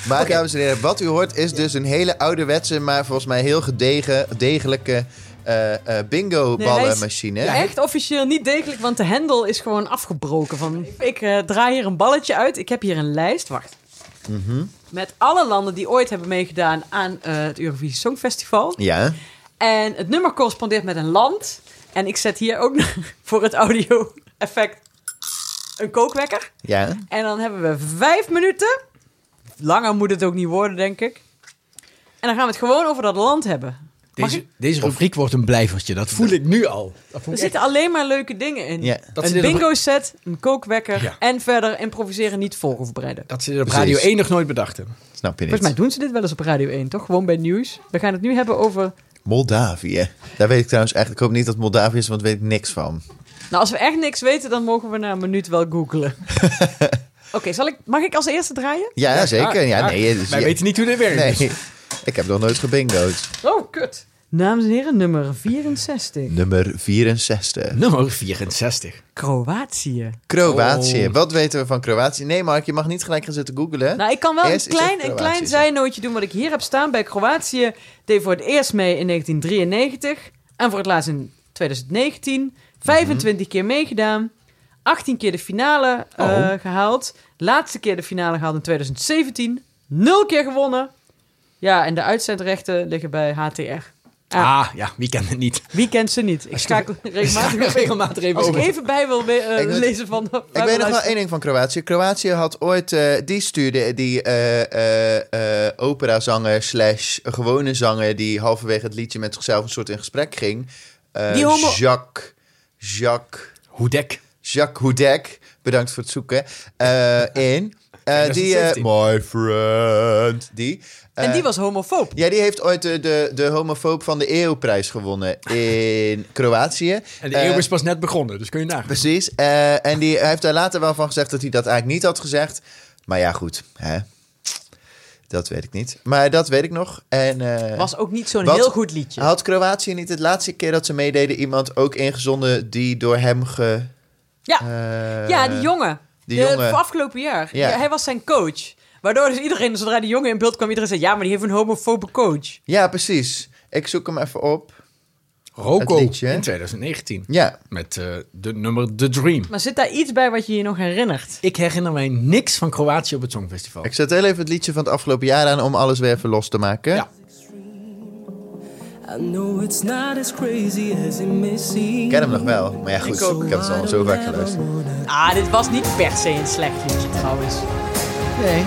Speaker 2: Maar dames en heren, wat u hoort is dus een hele ouderwetse, maar volgens mij heel gedegen, degelijke eh, eh,
Speaker 3: Nee, hij is-
Speaker 2: bingo-ballenmachine.
Speaker 3: Echt officieel niet degelijk, want de hendel is gewoon afgebroken. Van, ik eh, draai hier een balletje uit. Ik heb hier een lijst. Wacht.
Speaker 4: Mhm.
Speaker 3: Met alle landen die ooit hebben meegedaan aan eh, het Eurovisie Songfestival.
Speaker 2: ja.
Speaker 3: En het nummer correspondeert met een land. En ik zet hier ook nog voor het audio-effect een kookwekker.
Speaker 2: ja.
Speaker 3: En dan hebben we vijf minuten. Langer moet het ook niet worden, denk ik. En dan gaan we het gewoon over dat land hebben. Mag
Speaker 4: Deze,
Speaker 3: ik-
Speaker 4: deze rubriek wordt een blijvertje, dat voel ik nu al. Dat voel
Speaker 3: Er
Speaker 4: ik echt-
Speaker 3: zitten alleen maar leuke dingen in.
Speaker 2: Ja.
Speaker 4: Dat
Speaker 3: een
Speaker 4: zit er-
Speaker 3: bingo-set, een kookwekker
Speaker 4: Ja.
Speaker 3: en verder improviseren niet voorbereiden.
Speaker 4: Dat ze er op
Speaker 2: Precies.
Speaker 4: Radio 1 nog nooit bedacht hebben.
Speaker 2: Snap je
Speaker 3: Volgens mij
Speaker 2: niet?
Speaker 3: doen ze dit wel eens op Radio 1, toch? Gewoon bij nieuws. We gaan het nu hebben over...
Speaker 2: Moldavië. Daar weet ik trouwens echt, ik hoop niet dat het Moldavië is, want daar weet ik niks van.
Speaker 3: Nou, als we echt niks weten, dan mogen we na een minuut wel googlen. Oké, zal ik? mag ik als eerste draaien?
Speaker 2: Ja, zeker.
Speaker 3: ah,
Speaker 2: Ja, nee. dus-
Speaker 4: Wij
Speaker 2: ja,
Speaker 4: weten niet hoe dit werkt.
Speaker 2: Nee, ik heb nog nooit gebingo'd.
Speaker 3: Oh, kut. Dames en heren, nummer 64.
Speaker 2: Nummer 64.
Speaker 4: Nummer 64.
Speaker 3: Kroatië.
Speaker 2: Kroatië.
Speaker 4: Oh.
Speaker 2: Wat weten we van Kroatië? Nee, Mark, je mag niet gelijk gaan zitten googlen.
Speaker 3: Nou, ik kan wel
Speaker 2: Eerst
Speaker 3: een
Speaker 2: is het
Speaker 3: klein,
Speaker 2: Kroatië,
Speaker 3: een klein
Speaker 2: zeg.
Speaker 3: zijnootje doen wat ik hier heb staan. Bij Kroatië deed voor het eerst mee in 1993. En voor het laatst in 2019. 25
Speaker 2: Mhm.
Speaker 3: keer meegedaan. 18 keer de finale eh,
Speaker 4: Oh.
Speaker 3: gehaald. Laatste keer de finale gehaald in 2017. Nul keer gewonnen. Ja, en de uitzendrechten liggen bij HTR. Ja.
Speaker 4: Ah, ja, wie kent het niet?
Speaker 3: Wie kent ze niet? Ik schakel regelmatig
Speaker 4: Maak er regelmatig even
Speaker 3: Als ik
Speaker 4: over.
Speaker 3: even bij wil we- eh,
Speaker 2: Oh, Ik weet-
Speaker 3: lezen van...
Speaker 2: Ik weet nog wel één ding van Kroatië. Kroatië had ooit, eh, die stuurde die eh, eh, eh, operazanger slash gewone zanger... die halverwege het liedje met zichzelf een soort in gesprek ging. Eh,
Speaker 3: Die homo-
Speaker 2: Jacques, Jacques,
Speaker 4: Hoedek.
Speaker 2: Jacques Houdek, bedankt voor het zoeken, eh, in. Eh, die, eh,
Speaker 4: 2017.
Speaker 2: my friend, die.
Speaker 3: En
Speaker 2: eh,
Speaker 3: die was homofoob.
Speaker 2: Ja, die heeft ooit de, de, de homofoob van de eeuwprijs gewonnen in Kroatië.
Speaker 4: En de
Speaker 2: Eh,
Speaker 4: eeuw is pas net begonnen, dus kun je nagaan.
Speaker 2: Precies. Eh, en die, hij heeft daar later wel van gezegd dat hij dat eigenlijk niet had gezegd. Maar ja, goed. Hè. Dat weet ik niet. Maar dat weet ik nog. En, eh,
Speaker 3: Was ook niet zo'n
Speaker 2: Wat? Ah,
Speaker 3: heel goed liedje.
Speaker 2: Had Kroatië niet het laatste keer dat ze meededen iemand ook ingezonden die door hem ge...
Speaker 3: Ja.
Speaker 2: eh,
Speaker 3: ja, die jongen.
Speaker 2: die
Speaker 3: De-
Speaker 2: jongen.
Speaker 3: Voor afgelopen jaar.
Speaker 2: Ja.
Speaker 3: Ja, hij was zijn coach. Waardoor dus iedereen, zodra die jongen in beeld kwam, iedereen zei... Ja, maar die heeft een homofobe coach.
Speaker 2: Ja, precies. Ik zoek hem even op.
Speaker 4: Rocco
Speaker 2: Het liedje, hè?
Speaker 4: in 2019.
Speaker 2: Ja,
Speaker 4: Met eh, de nummer The Dream.
Speaker 3: Maar zit daar iets bij wat je je nog herinnert?
Speaker 4: Ik herinner mij niks van Kroatië op het Songfestival.
Speaker 2: ik zet heel even het liedje van het afgelopen jaar aan om alles weer even los te maken.
Speaker 4: Ja.
Speaker 8: I know it's not as crazy as it may seem.
Speaker 2: Ik ken hem nog wel. Maar ja, goed.
Speaker 3: Ik ook.
Speaker 2: Ik heb het al zo vaak geluisterd.
Speaker 3: Ah, dit was niet per se een slecht liedje trouwens.
Speaker 2: Nee.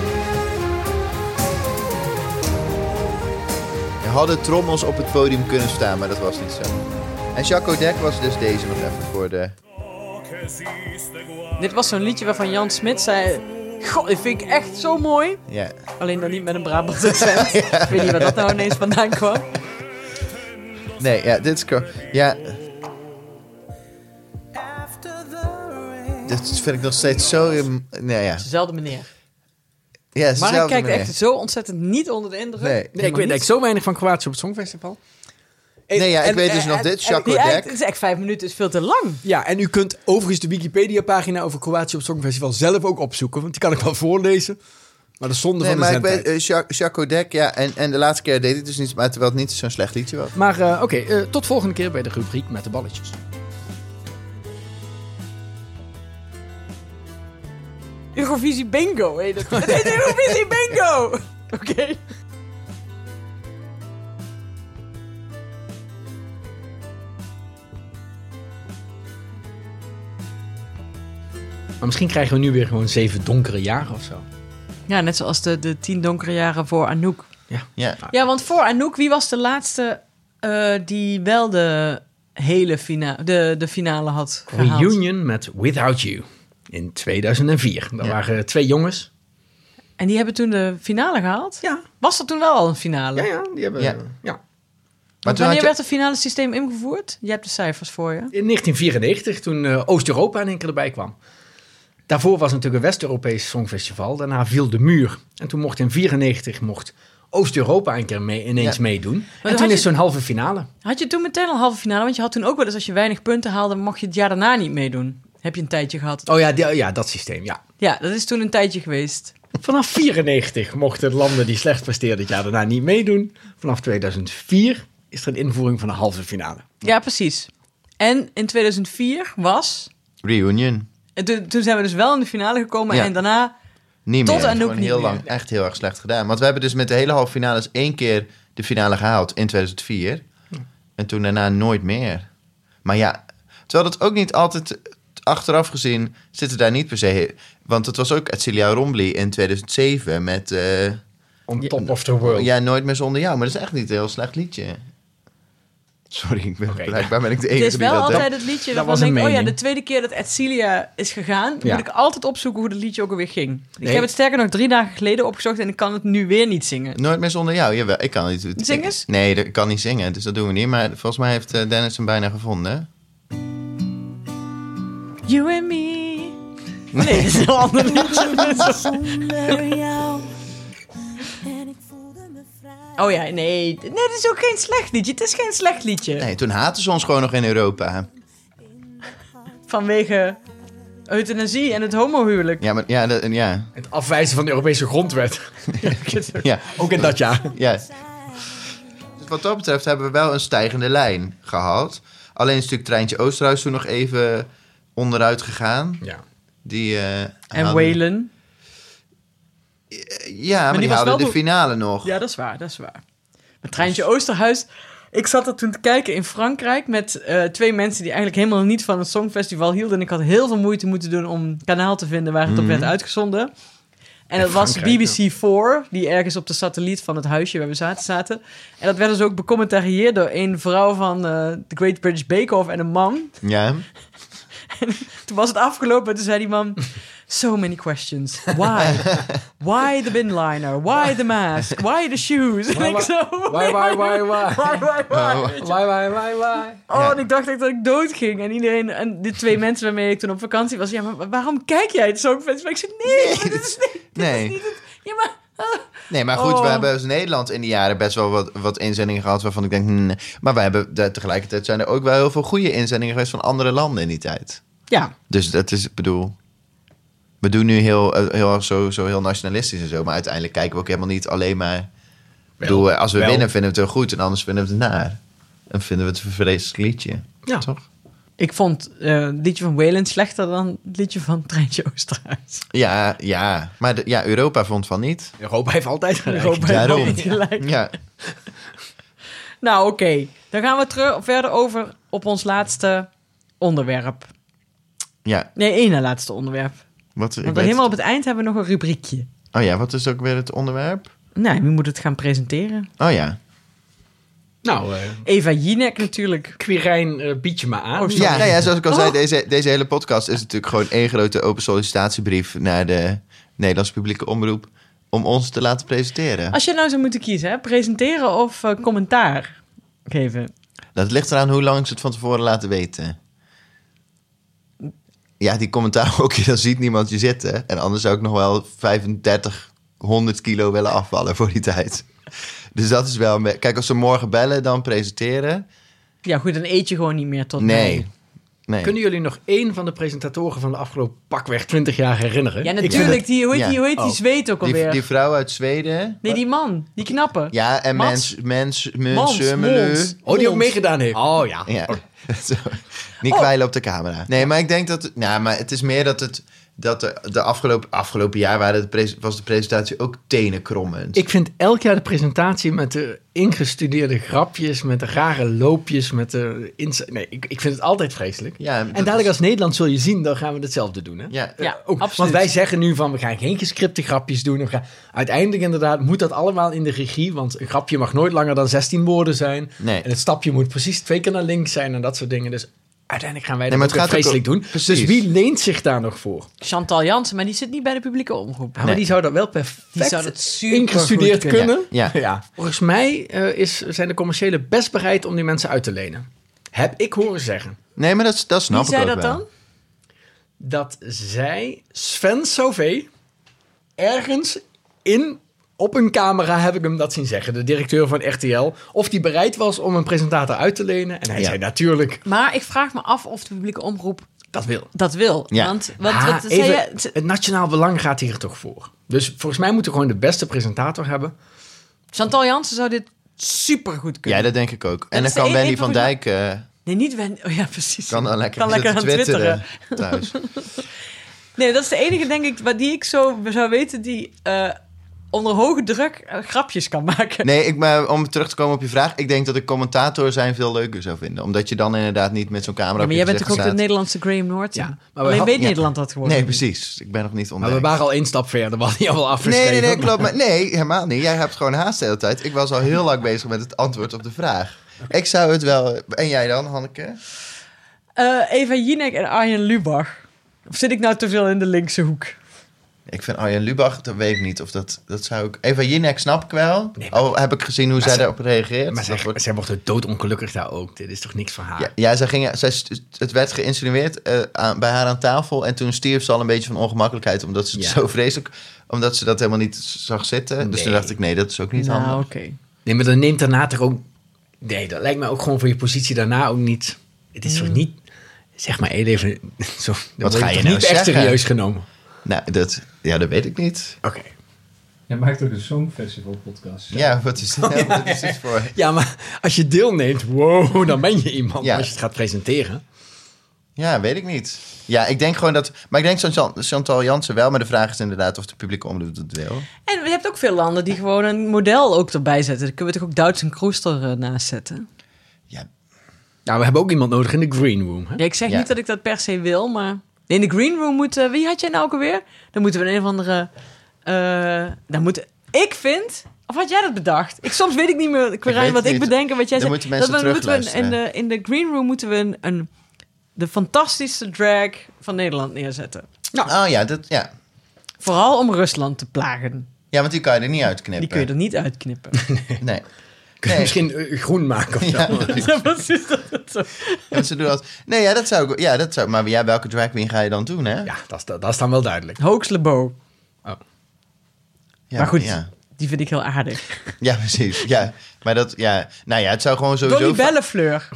Speaker 2: Er hadden trommels op het podium kunnen staan, maar dat was niet zo. En Jacques Dek was dus deze nog even voor de...
Speaker 3: Dit was zo'n liedje waarvan Jan Smit zei... God, dit vind ik echt zo mooi.
Speaker 2: Ja.
Speaker 3: Alleen dan niet met een Brabants accent. Ik weet niet waar dat nou ineens vandaan kwam.
Speaker 2: Nee, ja, dit is... Kro- Ja,
Speaker 8: After the rain.
Speaker 2: dit vind ik nog steeds zo... in- Nee, ja.
Speaker 3: Dezelfde meneer.
Speaker 2: ja
Speaker 3: Maar hij
Speaker 2: dezelfde
Speaker 3: kijkt
Speaker 2: manier.
Speaker 3: echt zo ontzettend niet onder de indruk.
Speaker 2: Nee.
Speaker 4: Nee, ik weet
Speaker 3: niks.
Speaker 4: eigenlijk zo weinig van Kroatië op het Songfestival.
Speaker 2: Nee, ja, ik weet dus nog dit. Jacques
Speaker 3: Die act- Het
Speaker 2: Dek.
Speaker 3: is echt vijf minuten, is veel te lang.
Speaker 4: Ja, en u kunt overigens de Wikipedia-pagina over Kroatië op het Songfestival zelf ook opzoeken. Want die kan ik wel voorlezen. Maar dat is zonde
Speaker 2: Nee,
Speaker 4: van de
Speaker 2: maar ik
Speaker 4: zendtijd.
Speaker 2: weet... eh, Jacques Jacques Dek, ja. En, en de laatste keer deed hij het dus niet, maar terwijl het niet zo'n slecht liedje was.
Speaker 4: Maar eh, oké, eh, tot volgende keer bij de rubriek met de balletjes.
Speaker 3: Eurovisie Bingo heet het. Het heet Eurovisie Bingo! Oké.
Speaker 4: Maar misschien krijgen we nu weer gewoon zeven donkere jaren of zo.
Speaker 3: Ja, net zoals de, de tien donkere jaren voor Anouk.
Speaker 2: Ja.
Speaker 3: Ja, want voor Anouk, wie was de laatste eh, die wel de hele fina de, de finale had gehaald?
Speaker 4: Reunion met Without You in 2004. Daar
Speaker 2: Ja.
Speaker 4: waren twee jongens.
Speaker 3: En die hebben toen de finale gehaald?
Speaker 4: Ja.
Speaker 3: Was dat toen wel al een finale?
Speaker 4: Ja, ja, die hebben...
Speaker 2: Ja.
Speaker 4: Ja.
Speaker 2: Maar toen had
Speaker 3: Wanneer
Speaker 2: je...
Speaker 3: werd het finale systeem ingevoerd? Je hebt de cijfers voor je.
Speaker 4: In 1994, toen eh, Oost-Europa in één keer erbij kwam. Daarvoor was natuurlijk een West-Europees Songfestival. Daarna viel de muur. En toen mocht in 1994 mocht Oost-Europa een keer mee, ineens
Speaker 2: Ja.
Speaker 4: meedoen. en
Speaker 3: had
Speaker 4: toen
Speaker 3: je-
Speaker 4: is zo'n halve finale.
Speaker 3: Had je toen meteen al halve finale? Want je had toen ook wel eens, als je weinig punten haalde, mocht je het jaar daarna niet meedoen. Heb je een tijdje gehad.
Speaker 4: Oh ja, die- ja dat systeem, ja.
Speaker 3: Ja, dat is toen een tijdje geweest.
Speaker 4: Vanaf 94 mochten landen die slecht presteerden het jaar daarna niet meedoen. Vanaf 2004 is er een invoering van de halve finale.
Speaker 3: Ja, precies. En in 2004 was...
Speaker 2: Reunion.
Speaker 3: en Toen, toen zijn we dus wel in de finale gekomen
Speaker 2: Ja.
Speaker 3: en daarna...
Speaker 2: Niet
Speaker 3: Tot
Speaker 2: meer.
Speaker 3: en ook
Speaker 2: Gewoon
Speaker 3: niet
Speaker 2: heel
Speaker 3: meer.
Speaker 2: lang echt heel erg slecht gedaan. Want we hebben dus met de hele halve finales één keer de finale gehaald in 2004. En toen daarna nooit meer. Maar ja, terwijl dat ook niet altijd achteraf gezien zitten daar niet per se. Want het was ook Celia Rombly in 2007 met eh,
Speaker 4: On top of the world.
Speaker 2: ja, Nooit meer zonder jou. Maar dat is echt niet een heel slecht liedje. Sorry, ik ben,
Speaker 4: Oké,
Speaker 2: blijkbaar ben ik de enige
Speaker 3: Het is
Speaker 2: die
Speaker 3: wel
Speaker 2: dat
Speaker 3: altijd
Speaker 2: heeft.
Speaker 3: het
Speaker 4: Dat
Speaker 3: liedje waarvan
Speaker 4: was
Speaker 3: ik
Speaker 4: een
Speaker 3: denk... Oh ja,
Speaker 4: mening.
Speaker 3: de tweede keer dat Edcilia is gegaan...
Speaker 4: Ja.
Speaker 3: moet ik altijd opzoeken hoe het liedje ook alweer ging. Ik
Speaker 4: Nee.
Speaker 3: heb het sterker nog drie dagen geleden opgezocht... en ik kan het nu weer niet zingen.
Speaker 2: Nooit meer zonder jou, jawel. Ik kan niet...
Speaker 3: Zing eens.
Speaker 2: Nee, ik kan niet zingen, dus dat doen we niet. Maar volgens mij heeft eh, Dennis hem bijna gevonden. hè?
Speaker 3: You and me... Nee, dit is een ander liedje.
Speaker 5: Zonder jou. En ik voelde me vrij.
Speaker 3: Oh ja, nee. Nee, dit is ook geen slecht liedje. Het is geen slecht liedje.
Speaker 2: Nee, toen haatten ze ons gewoon nog in Europa.
Speaker 3: Vanwege euthanasie en het homohuwelijk.
Speaker 2: Ja, maar ja, dat, ja,
Speaker 4: Het afwijzen van de Europese grondwet.
Speaker 2: ja,
Speaker 4: Ook in dat jaar.
Speaker 2: ja. Dus wat dat betreft hebben we wel een stijgende lijn gehad. Alleen een stuk treintje Oosterhuis toen nog even onderuit gegaan.
Speaker 4: Ja.
Speaker 2: Die, eh,
Speaker 3: En
Speaker 2: hadden-
Speaker 3: Waylon.
Speaker 2: Ja, maar,
Speaker 3: die
Speaker 2: die,
Speaker 3: was
Speaker 2: hadden
Speaker 3: wel
Speaker 2: de
Speaker 3: door-
Speaker 2: finale nog.
Speaker 3: Ja, dat is waar, dat is waar. Met Treintje Oosterhuis. Ik zat er toen te kijken in Frankrijk met eh, twee mensen die eigenlijk helemaal niet van het Songfestival hielden. En ik had heel veel moeite moeten doen om een kanaal te vinden waar het op werd uitgezonden. En dat was
Speaker 4: Frankrijk,
Speaker 3: BBC4, die ergens op de satelliet van het huisje waar we zaten zaten. En dat werd dus ook becommentarieerd door een vrouw van eh, The Great British Bake Off en een man.
Speaker 2: Ja.
Speaker 3: Toen was het afgelopen en toen zei die man... So many questions. Why? Why the bin liner? Why the mask? Why the shoes? En ik
Speaker 4: wa-
Speaker 3: zo...
Speaker 4: Why, why, why, why?
Speaker 3: Why, why, why?
Speaker 4: Why, why, why, why?
Speaker 3: Oh, en ik dacht echt dat ik dood ging. En iedereen... En die twee mensen waarmee ik toen op vakantie was... Ja, maar waarom kijk jij het zo? Ik zei, nee, maar dit is niet...
Speaker 2: Nee.
Speaker 3: Ja, maar
Speaker 2: Nee, maar goed,
Speaker 3: Oh.
Speaker 2: we hebben als Nederland in de jaren best wel wat, wat inzendingen gehad waarvan ik denk, hmm, maar we hebben daar- tegelijkertijd zijn er ook wel heel veel goede inzendingen geweest van andere landen in die tijd.
Speaker 3: Ja,
Speaker 2: Dus dat is, ik bedoel, we doen nu heel, eh, heel erg zo, zo heel nationalistisch en zo, maar uiteindelijk kijken we ook helemaal niet alleen maar. Ik bedoel, eh, als we
Speaker 4: wel.
Speaker 2: winnen vinden we het heel goed en anders vinden we het naar. En vinden we het een vreselijk liedje.
Speaker 4: Ja.
Speaker 2: Toch?
Speaker 3: ik vond eh, het liedje van Wayland slechter dan het liedje van Treintje Oosterhuis.
Speaker 2: Ja, ja. Maar de- ja, Europa vond van niet.
Speaker 4: Europa heeft altijd gelijk.
Speaker 3: Europa heeft
Speaker 2: daarom.
Speaker 3: niet gelijk.
Speaker 2: Ja.
Speaker 3: Nou, oké. Dan gaan we terug, verder over op ons laatste onderwerp.
Speaker 2: Ja,
Speaker 3: Nee, één na laatste onderwerp.
Speaker 2: wat, ik
Speaker 3: Want
Speaker 2: weet-
Speaker 3: helemaal op het eind hebben we nog een rubriekje.
Speaker 2: Oh ja, wat is ook weer het onderwerp?
Speaker 3: Nou, wie moet het gaan presenteren?
Speaker 2: Oh ja.
Speaker 4: Nou, eh
Speaker 3: Eva Jinek natuurlijk.
Speaker 4: Quirijn, eh, bied je me aan.
Speaker 3: Oh,
Speaker 2: Ja, nou ja, zoals ik al zei, deze, deze hele podcast is natuurlijk gewoon één grote open sollicitatiebrief naar de Nederlandse publieke omroep om ons te laten presenteren.
Speaker 3: Als je nou zou moeten kiezen, hè? presenteren of eh, commentaar geven?
Speaker 2: Dat Nou, ligt eraan hoe lang ze het van tevoren laten weten. Ja, die commentaar ook, dan ziet niemand je zitten. En anders zou ik nog wel 35, 100 kilo willen afvallen voor die tijd. Dus dat is wel... me- Kijk, als ze morgen bellen, dan presenteren.
Speaker 3: Ja, goed, dan eet je gewoon niet meer tot
Speaker 2: Nee. nee.
Speaker 4: Kunnen jullie nog één van de presentatoren van de afgelopen pakweg 20 jaar herinneren?
Speaker 3: Ja,
Speaker 4: Ik vind het-
Speaker 3: natuurlijk. Die, hoe heet
Speaker 2: Ja.
Speaker 3: die, hoe heet die
Speaker 4: Oh.
Speaker 3: zweet ook alweer?
Speaker 2: Die, die vrouw uit Zweden.
Speaker 3: nee, die man. Die knappe.
Speaker 2: Ja, eh, en
Speaker 3: Mats?
Speaker 2: mens, mens,
Speaker 3: Mans,
Speaker 2: mens,
Speaker 3: Mons.
Speaker 2: mens
Speaker 4: Oh, die ook meegedaan heeft. Oh ja.
Speaker 2: Ja. Zo. Niet kwijlen op de camera. Nee, maar ik denk dat... Nou, maar het is meer dat het... Dat de, de afgelopen, afgelopen jaar waren de pres- was de presentatie ook tenenkrommend.
Speaker 4: Ik vind elk jaar de presentatie met de ingestudeerde grapjes, met de rare loopjes, met de... ins- Nee, ik, ik vind het altijd vreselijk.
Speaker 2: Ja, dat
Speaker 4: En dadelijk
Speaker 2: is-
Speaker 4: als Nederland zul je zien, dan gaan we hetzelfde doen. Hè? Eh,
Speaker 2: Ja,
Speaker 3: Ja,
Speaker 4: Ook,
Speaker 3: absoluut.
Speaker 4: want wij zeggen nu van we gaan geen gescripte grapjes doen. We gaan, uiteindelijk inderdaad moet dat allemaal in de regie. Want een grapje mag nooit langer dan 16 woorden zijn.
Speaker 2: Nee.
Speaker 4: En het stapje moet precies twee keer naar links zijn en dat soort dingen. Dus uiteindelijk gaan wij
Speaker 2: Nee,
Speaker 4: dat
Speaker 2: maar
Speaker 4: ook
Speaker 2: het
Speaker 4: weer
Speaker 2: gaat ook
Speaker 4: vreselijk
Speaker 2: om-
Speaker 4: doen.
Speaker 2: precies.
Speaker 4: Dus wie leent zich daar nog voor? Ja,
Speaker 3: Chantal Jansen, maar die zit niet bij de publieke omroep.
Speaker 4: Maar die zou dat wel perfect
Speaker 3: Die zou dat supergoed
Speaker 4: ingestudeerd
Speaker 3: kunnen.
Speaker 4: kunnen.
Speaker 2: Ja. Ja.
Speaker 4: Volgens mij eh, is, zijn de commerciëlen best bereid om die mensen uit te lenen. Heb ik horen zeggen.
Speaker 2: Nee, maar dat, dat snap
Speaker 3: Wie
Speaker 2: ik
Speaker 3: zei
Speaker 2: ook
Speaker 3: dat
Speaker 2: wel.
Speaker 3: dan?
Speaker 4: dat zij Sven Sauvé ergens in op een camera heb ik hem dat zien zeggen, de directeur van RTL, of die bereid was om een presentator uit te lenen. En hij
Speaker 2: Ja.
Speaker 4: zei natuurlijk,
Speaker 3: Maar ik vraag me af of de publieke omroep
Speaker 4: dat wil.
Speaker 3: dat wil.
Speaker 2: Ja.
Speaker 3: Want wat,
Speaker 4: Ah,
Speaker 3: wat zei
Speaker 4: even,
Speaker 3: je?
Speaker 4: Het nationaal belang gaat hier toch voor. Dus volgens mij moeten we gewoon de beste presentator hebben.
Speaker 3: Chantal Jansen zou dit supergoed kunnen.
Speaker 2: Ja, dat denk ik ook. En
Speaker 3: is
Speaker 2: dan
Speaker 3: de
Speaker 2: kan
Speaker 3: een-
Speaker 2: Wendy
Speaker 3: een
Speaker 2: van
Speaker 3: van de-
Speaker 2: Dijk eh,
Speaker 3: Nee, niet Wendy. Oh ja, precies.
Speaker 2: kan dan lekker,
Speaker 3: Kan lekker
Speaker 2: zitten
Speaker 3: gaan
Speaker 2: twitteren, thuis.
Speaker 3: Nee, dat is de enige, denk ik, waar die ik zo zou weten die eh, onder hoge druk eh, grapjes kan maken.
Speaker 2: Nee, ik, maar om terug te komen op je vraag. Ik denk dat ik commentator zijn veel leuker zou vinden. Omdat je dan inderdaad niet met zo'n camera
Speaker 3: Ja,
Speaker 2: op
Speaker 3: maar
Speaker 2: je
Speaker 3: jij bent
Speaker 2: gezicht
Speaker 3: toch ook de
Speaker 2: staat.
Speaker 3: Nederlandse Graham Norton?
Speaker 4: Ja, maar we
Speaker 3: Alleen
Speaker 4: had-
Speaker 3: weet
Speaker 2: ja.
Speaker 3: Nederland dat gewoon.
Speaker 2: Nee,
Speaker 3: niet.
Speaker 2: precies. Ik ben nog niet
Speaker 4: Maar we
Speaker 2: onderweg.
Speaker 4: waren al één stap verder, we hadden je al
Speaker 2: Nee,
Speaker 4: afgeschreven.
Speaker 2: nee, nee, klopt. Maar nee, helemaal niet. Jij hebt gewoon haast de hele tijd. Ik was al heel lang bezig met het antwoord op de vraag. Ik zou het wel... En jij dan, Hanneke?
Speaker 3: Eh, Eva Jinek en Arjen Lubach. Of zit ik nou te veel in de linkse hoek?
Speaker 2: Ik vind Arjen Lubach, dat weet ik niet. Of dat, dat zou ik... Eva Jinek snap ik wel.
Speaker 4: Nee, maar-
Speaker 2: Al heb ik gezien hoe zij
Speaker 4: ze-
Speaker 2: daarop reageert.
Speaker 4: Maar zij,
Speaker 2: Dat wordt-
Speaker 4: zij wordt er doodongelukkig daar ook. Dit is toch niks van haar?
Speaker 2: Ja, ja zij ging, zij, st- het werd geïnsinueerd eh, aan, bij haar aan tafel. En toen stierf ze al een beetje van ongemakkelijkheid. Omdat ze het
Speaker 4: Ja.
Speaker 2: zo vreselijk... Omdat ze dat helemaal niet zag zitten. Dus toen
Speaker 4: Nee.
Speaker 2: dacht ik, nee, dat is ook niet
Speaker 3: nou,
Speaker 2: handig.
Speaker 3: oké.
Speaker 4: Nee, maar dan neemt daarna toch ook... Nee, dat lijkt mij ook gewoon voor je positie daarna ook niet... Het is toch niet... Zeg maar even... Zo, dan word
Speaker 2: Hmm. ga
Speaker 4: toch
Speaker 2: je
Speaker 4: niet
Speaker 2: nou
Speaker 4: echt
Speaker 2: zeggen?
Speaker 4: serieus genomen.
Speaker 2: Nou, dat, ja, dat weet ik niet.
Speaker 4: Oké.
Speaker 7: Jij maakt ook een Songfestival podcast. hè?
Speaker 2: Ja, wat is dit, nou? Wat is dit voor...
Speaker 4: Ja, maar als je deelneemt, wow, dan ben je iemand
Speaker 2: Ja.
Speaker 4: als je het gaat presenteren.
Speaker 2: Ja, weet ik niet. Ja, ik denk gewoon dat... Maar ik denk Chantal, Chantal Jansen wel. Maar de vraag is inderdaad of de publieke omroep dat wil.
Speaker 3: En je hebt ook veel landen die gewoon een model ook erbij zetten. Dan kunnen we toch ook Duits en Kroester eh, naast zetten.
Speaker 2: Ja,
Speaker 4: Nou, we hebben ook iemand nodig in de green room. Hè?
Speaker 3: Ja, ik zeg
Speaker 2: Ja.
Speaker 3: niet dat ik dat per se wil, maar... Nee, in de green room moet... eh, wie had jij nou ook alweer? Dan moeten we een of andere... eh dan moet... Ik vind... Of had jij dat bedacht? Ik, soms weet ik niet meer, Quirijn,
Speaker 2: weet
Speaker 3: wat
Speaker 2: het
Speaker 3: ik
Speaker 2: niet.
Speaker 3: bedenk en wat jij
Speaker 2: Dan
Speaker 3: zegt.
Speaker 2: moeten mensen
Speaker 3: dat we, moeten we een- in, de,
Speaker 2: terugluisteren.
Speaker 3: in de green room moeten we een, een, de fantastische drag van Nederland neerzetten.
Speaker 2: Oh ja, dat, ja.
Speaker 3: Vooral om Rusland te plagen.
Speaker 2: ja, want die kan je er niet uitknippen.
Speaker 3: Die kun je er niet uitknippen.
Speaker 2: Nee.
Speaker 4: Kun je
Speaker 2: Nee.
Speaker 4: misschien eh, groen maken of zo.
Speaker 2: Ja,
Speaker 3: Ja, precies. Dat het zo-
Speaker 2: en ze doen dat. Nee, ja, dat zou ik... Ja, dat zou, maar ja, welke drag queen ga je dan doen, hè?
Speaker 4: Ja, dat is, dat is dan wel duidelijk.
Speaker 3: Hoax Lebo.
Speaker 4: Oh.
Speaker 2: Ja,
Speaker 3: Maar goed.
Speaker 2: Ja,
Speaker 3: Die vind ik heel aardig.
Speaker 2: ja precies. Ja. Maar dat, ja. Nou ja, het zou gewoon sowieso...
Speaker 3: Dolly Bellefleur.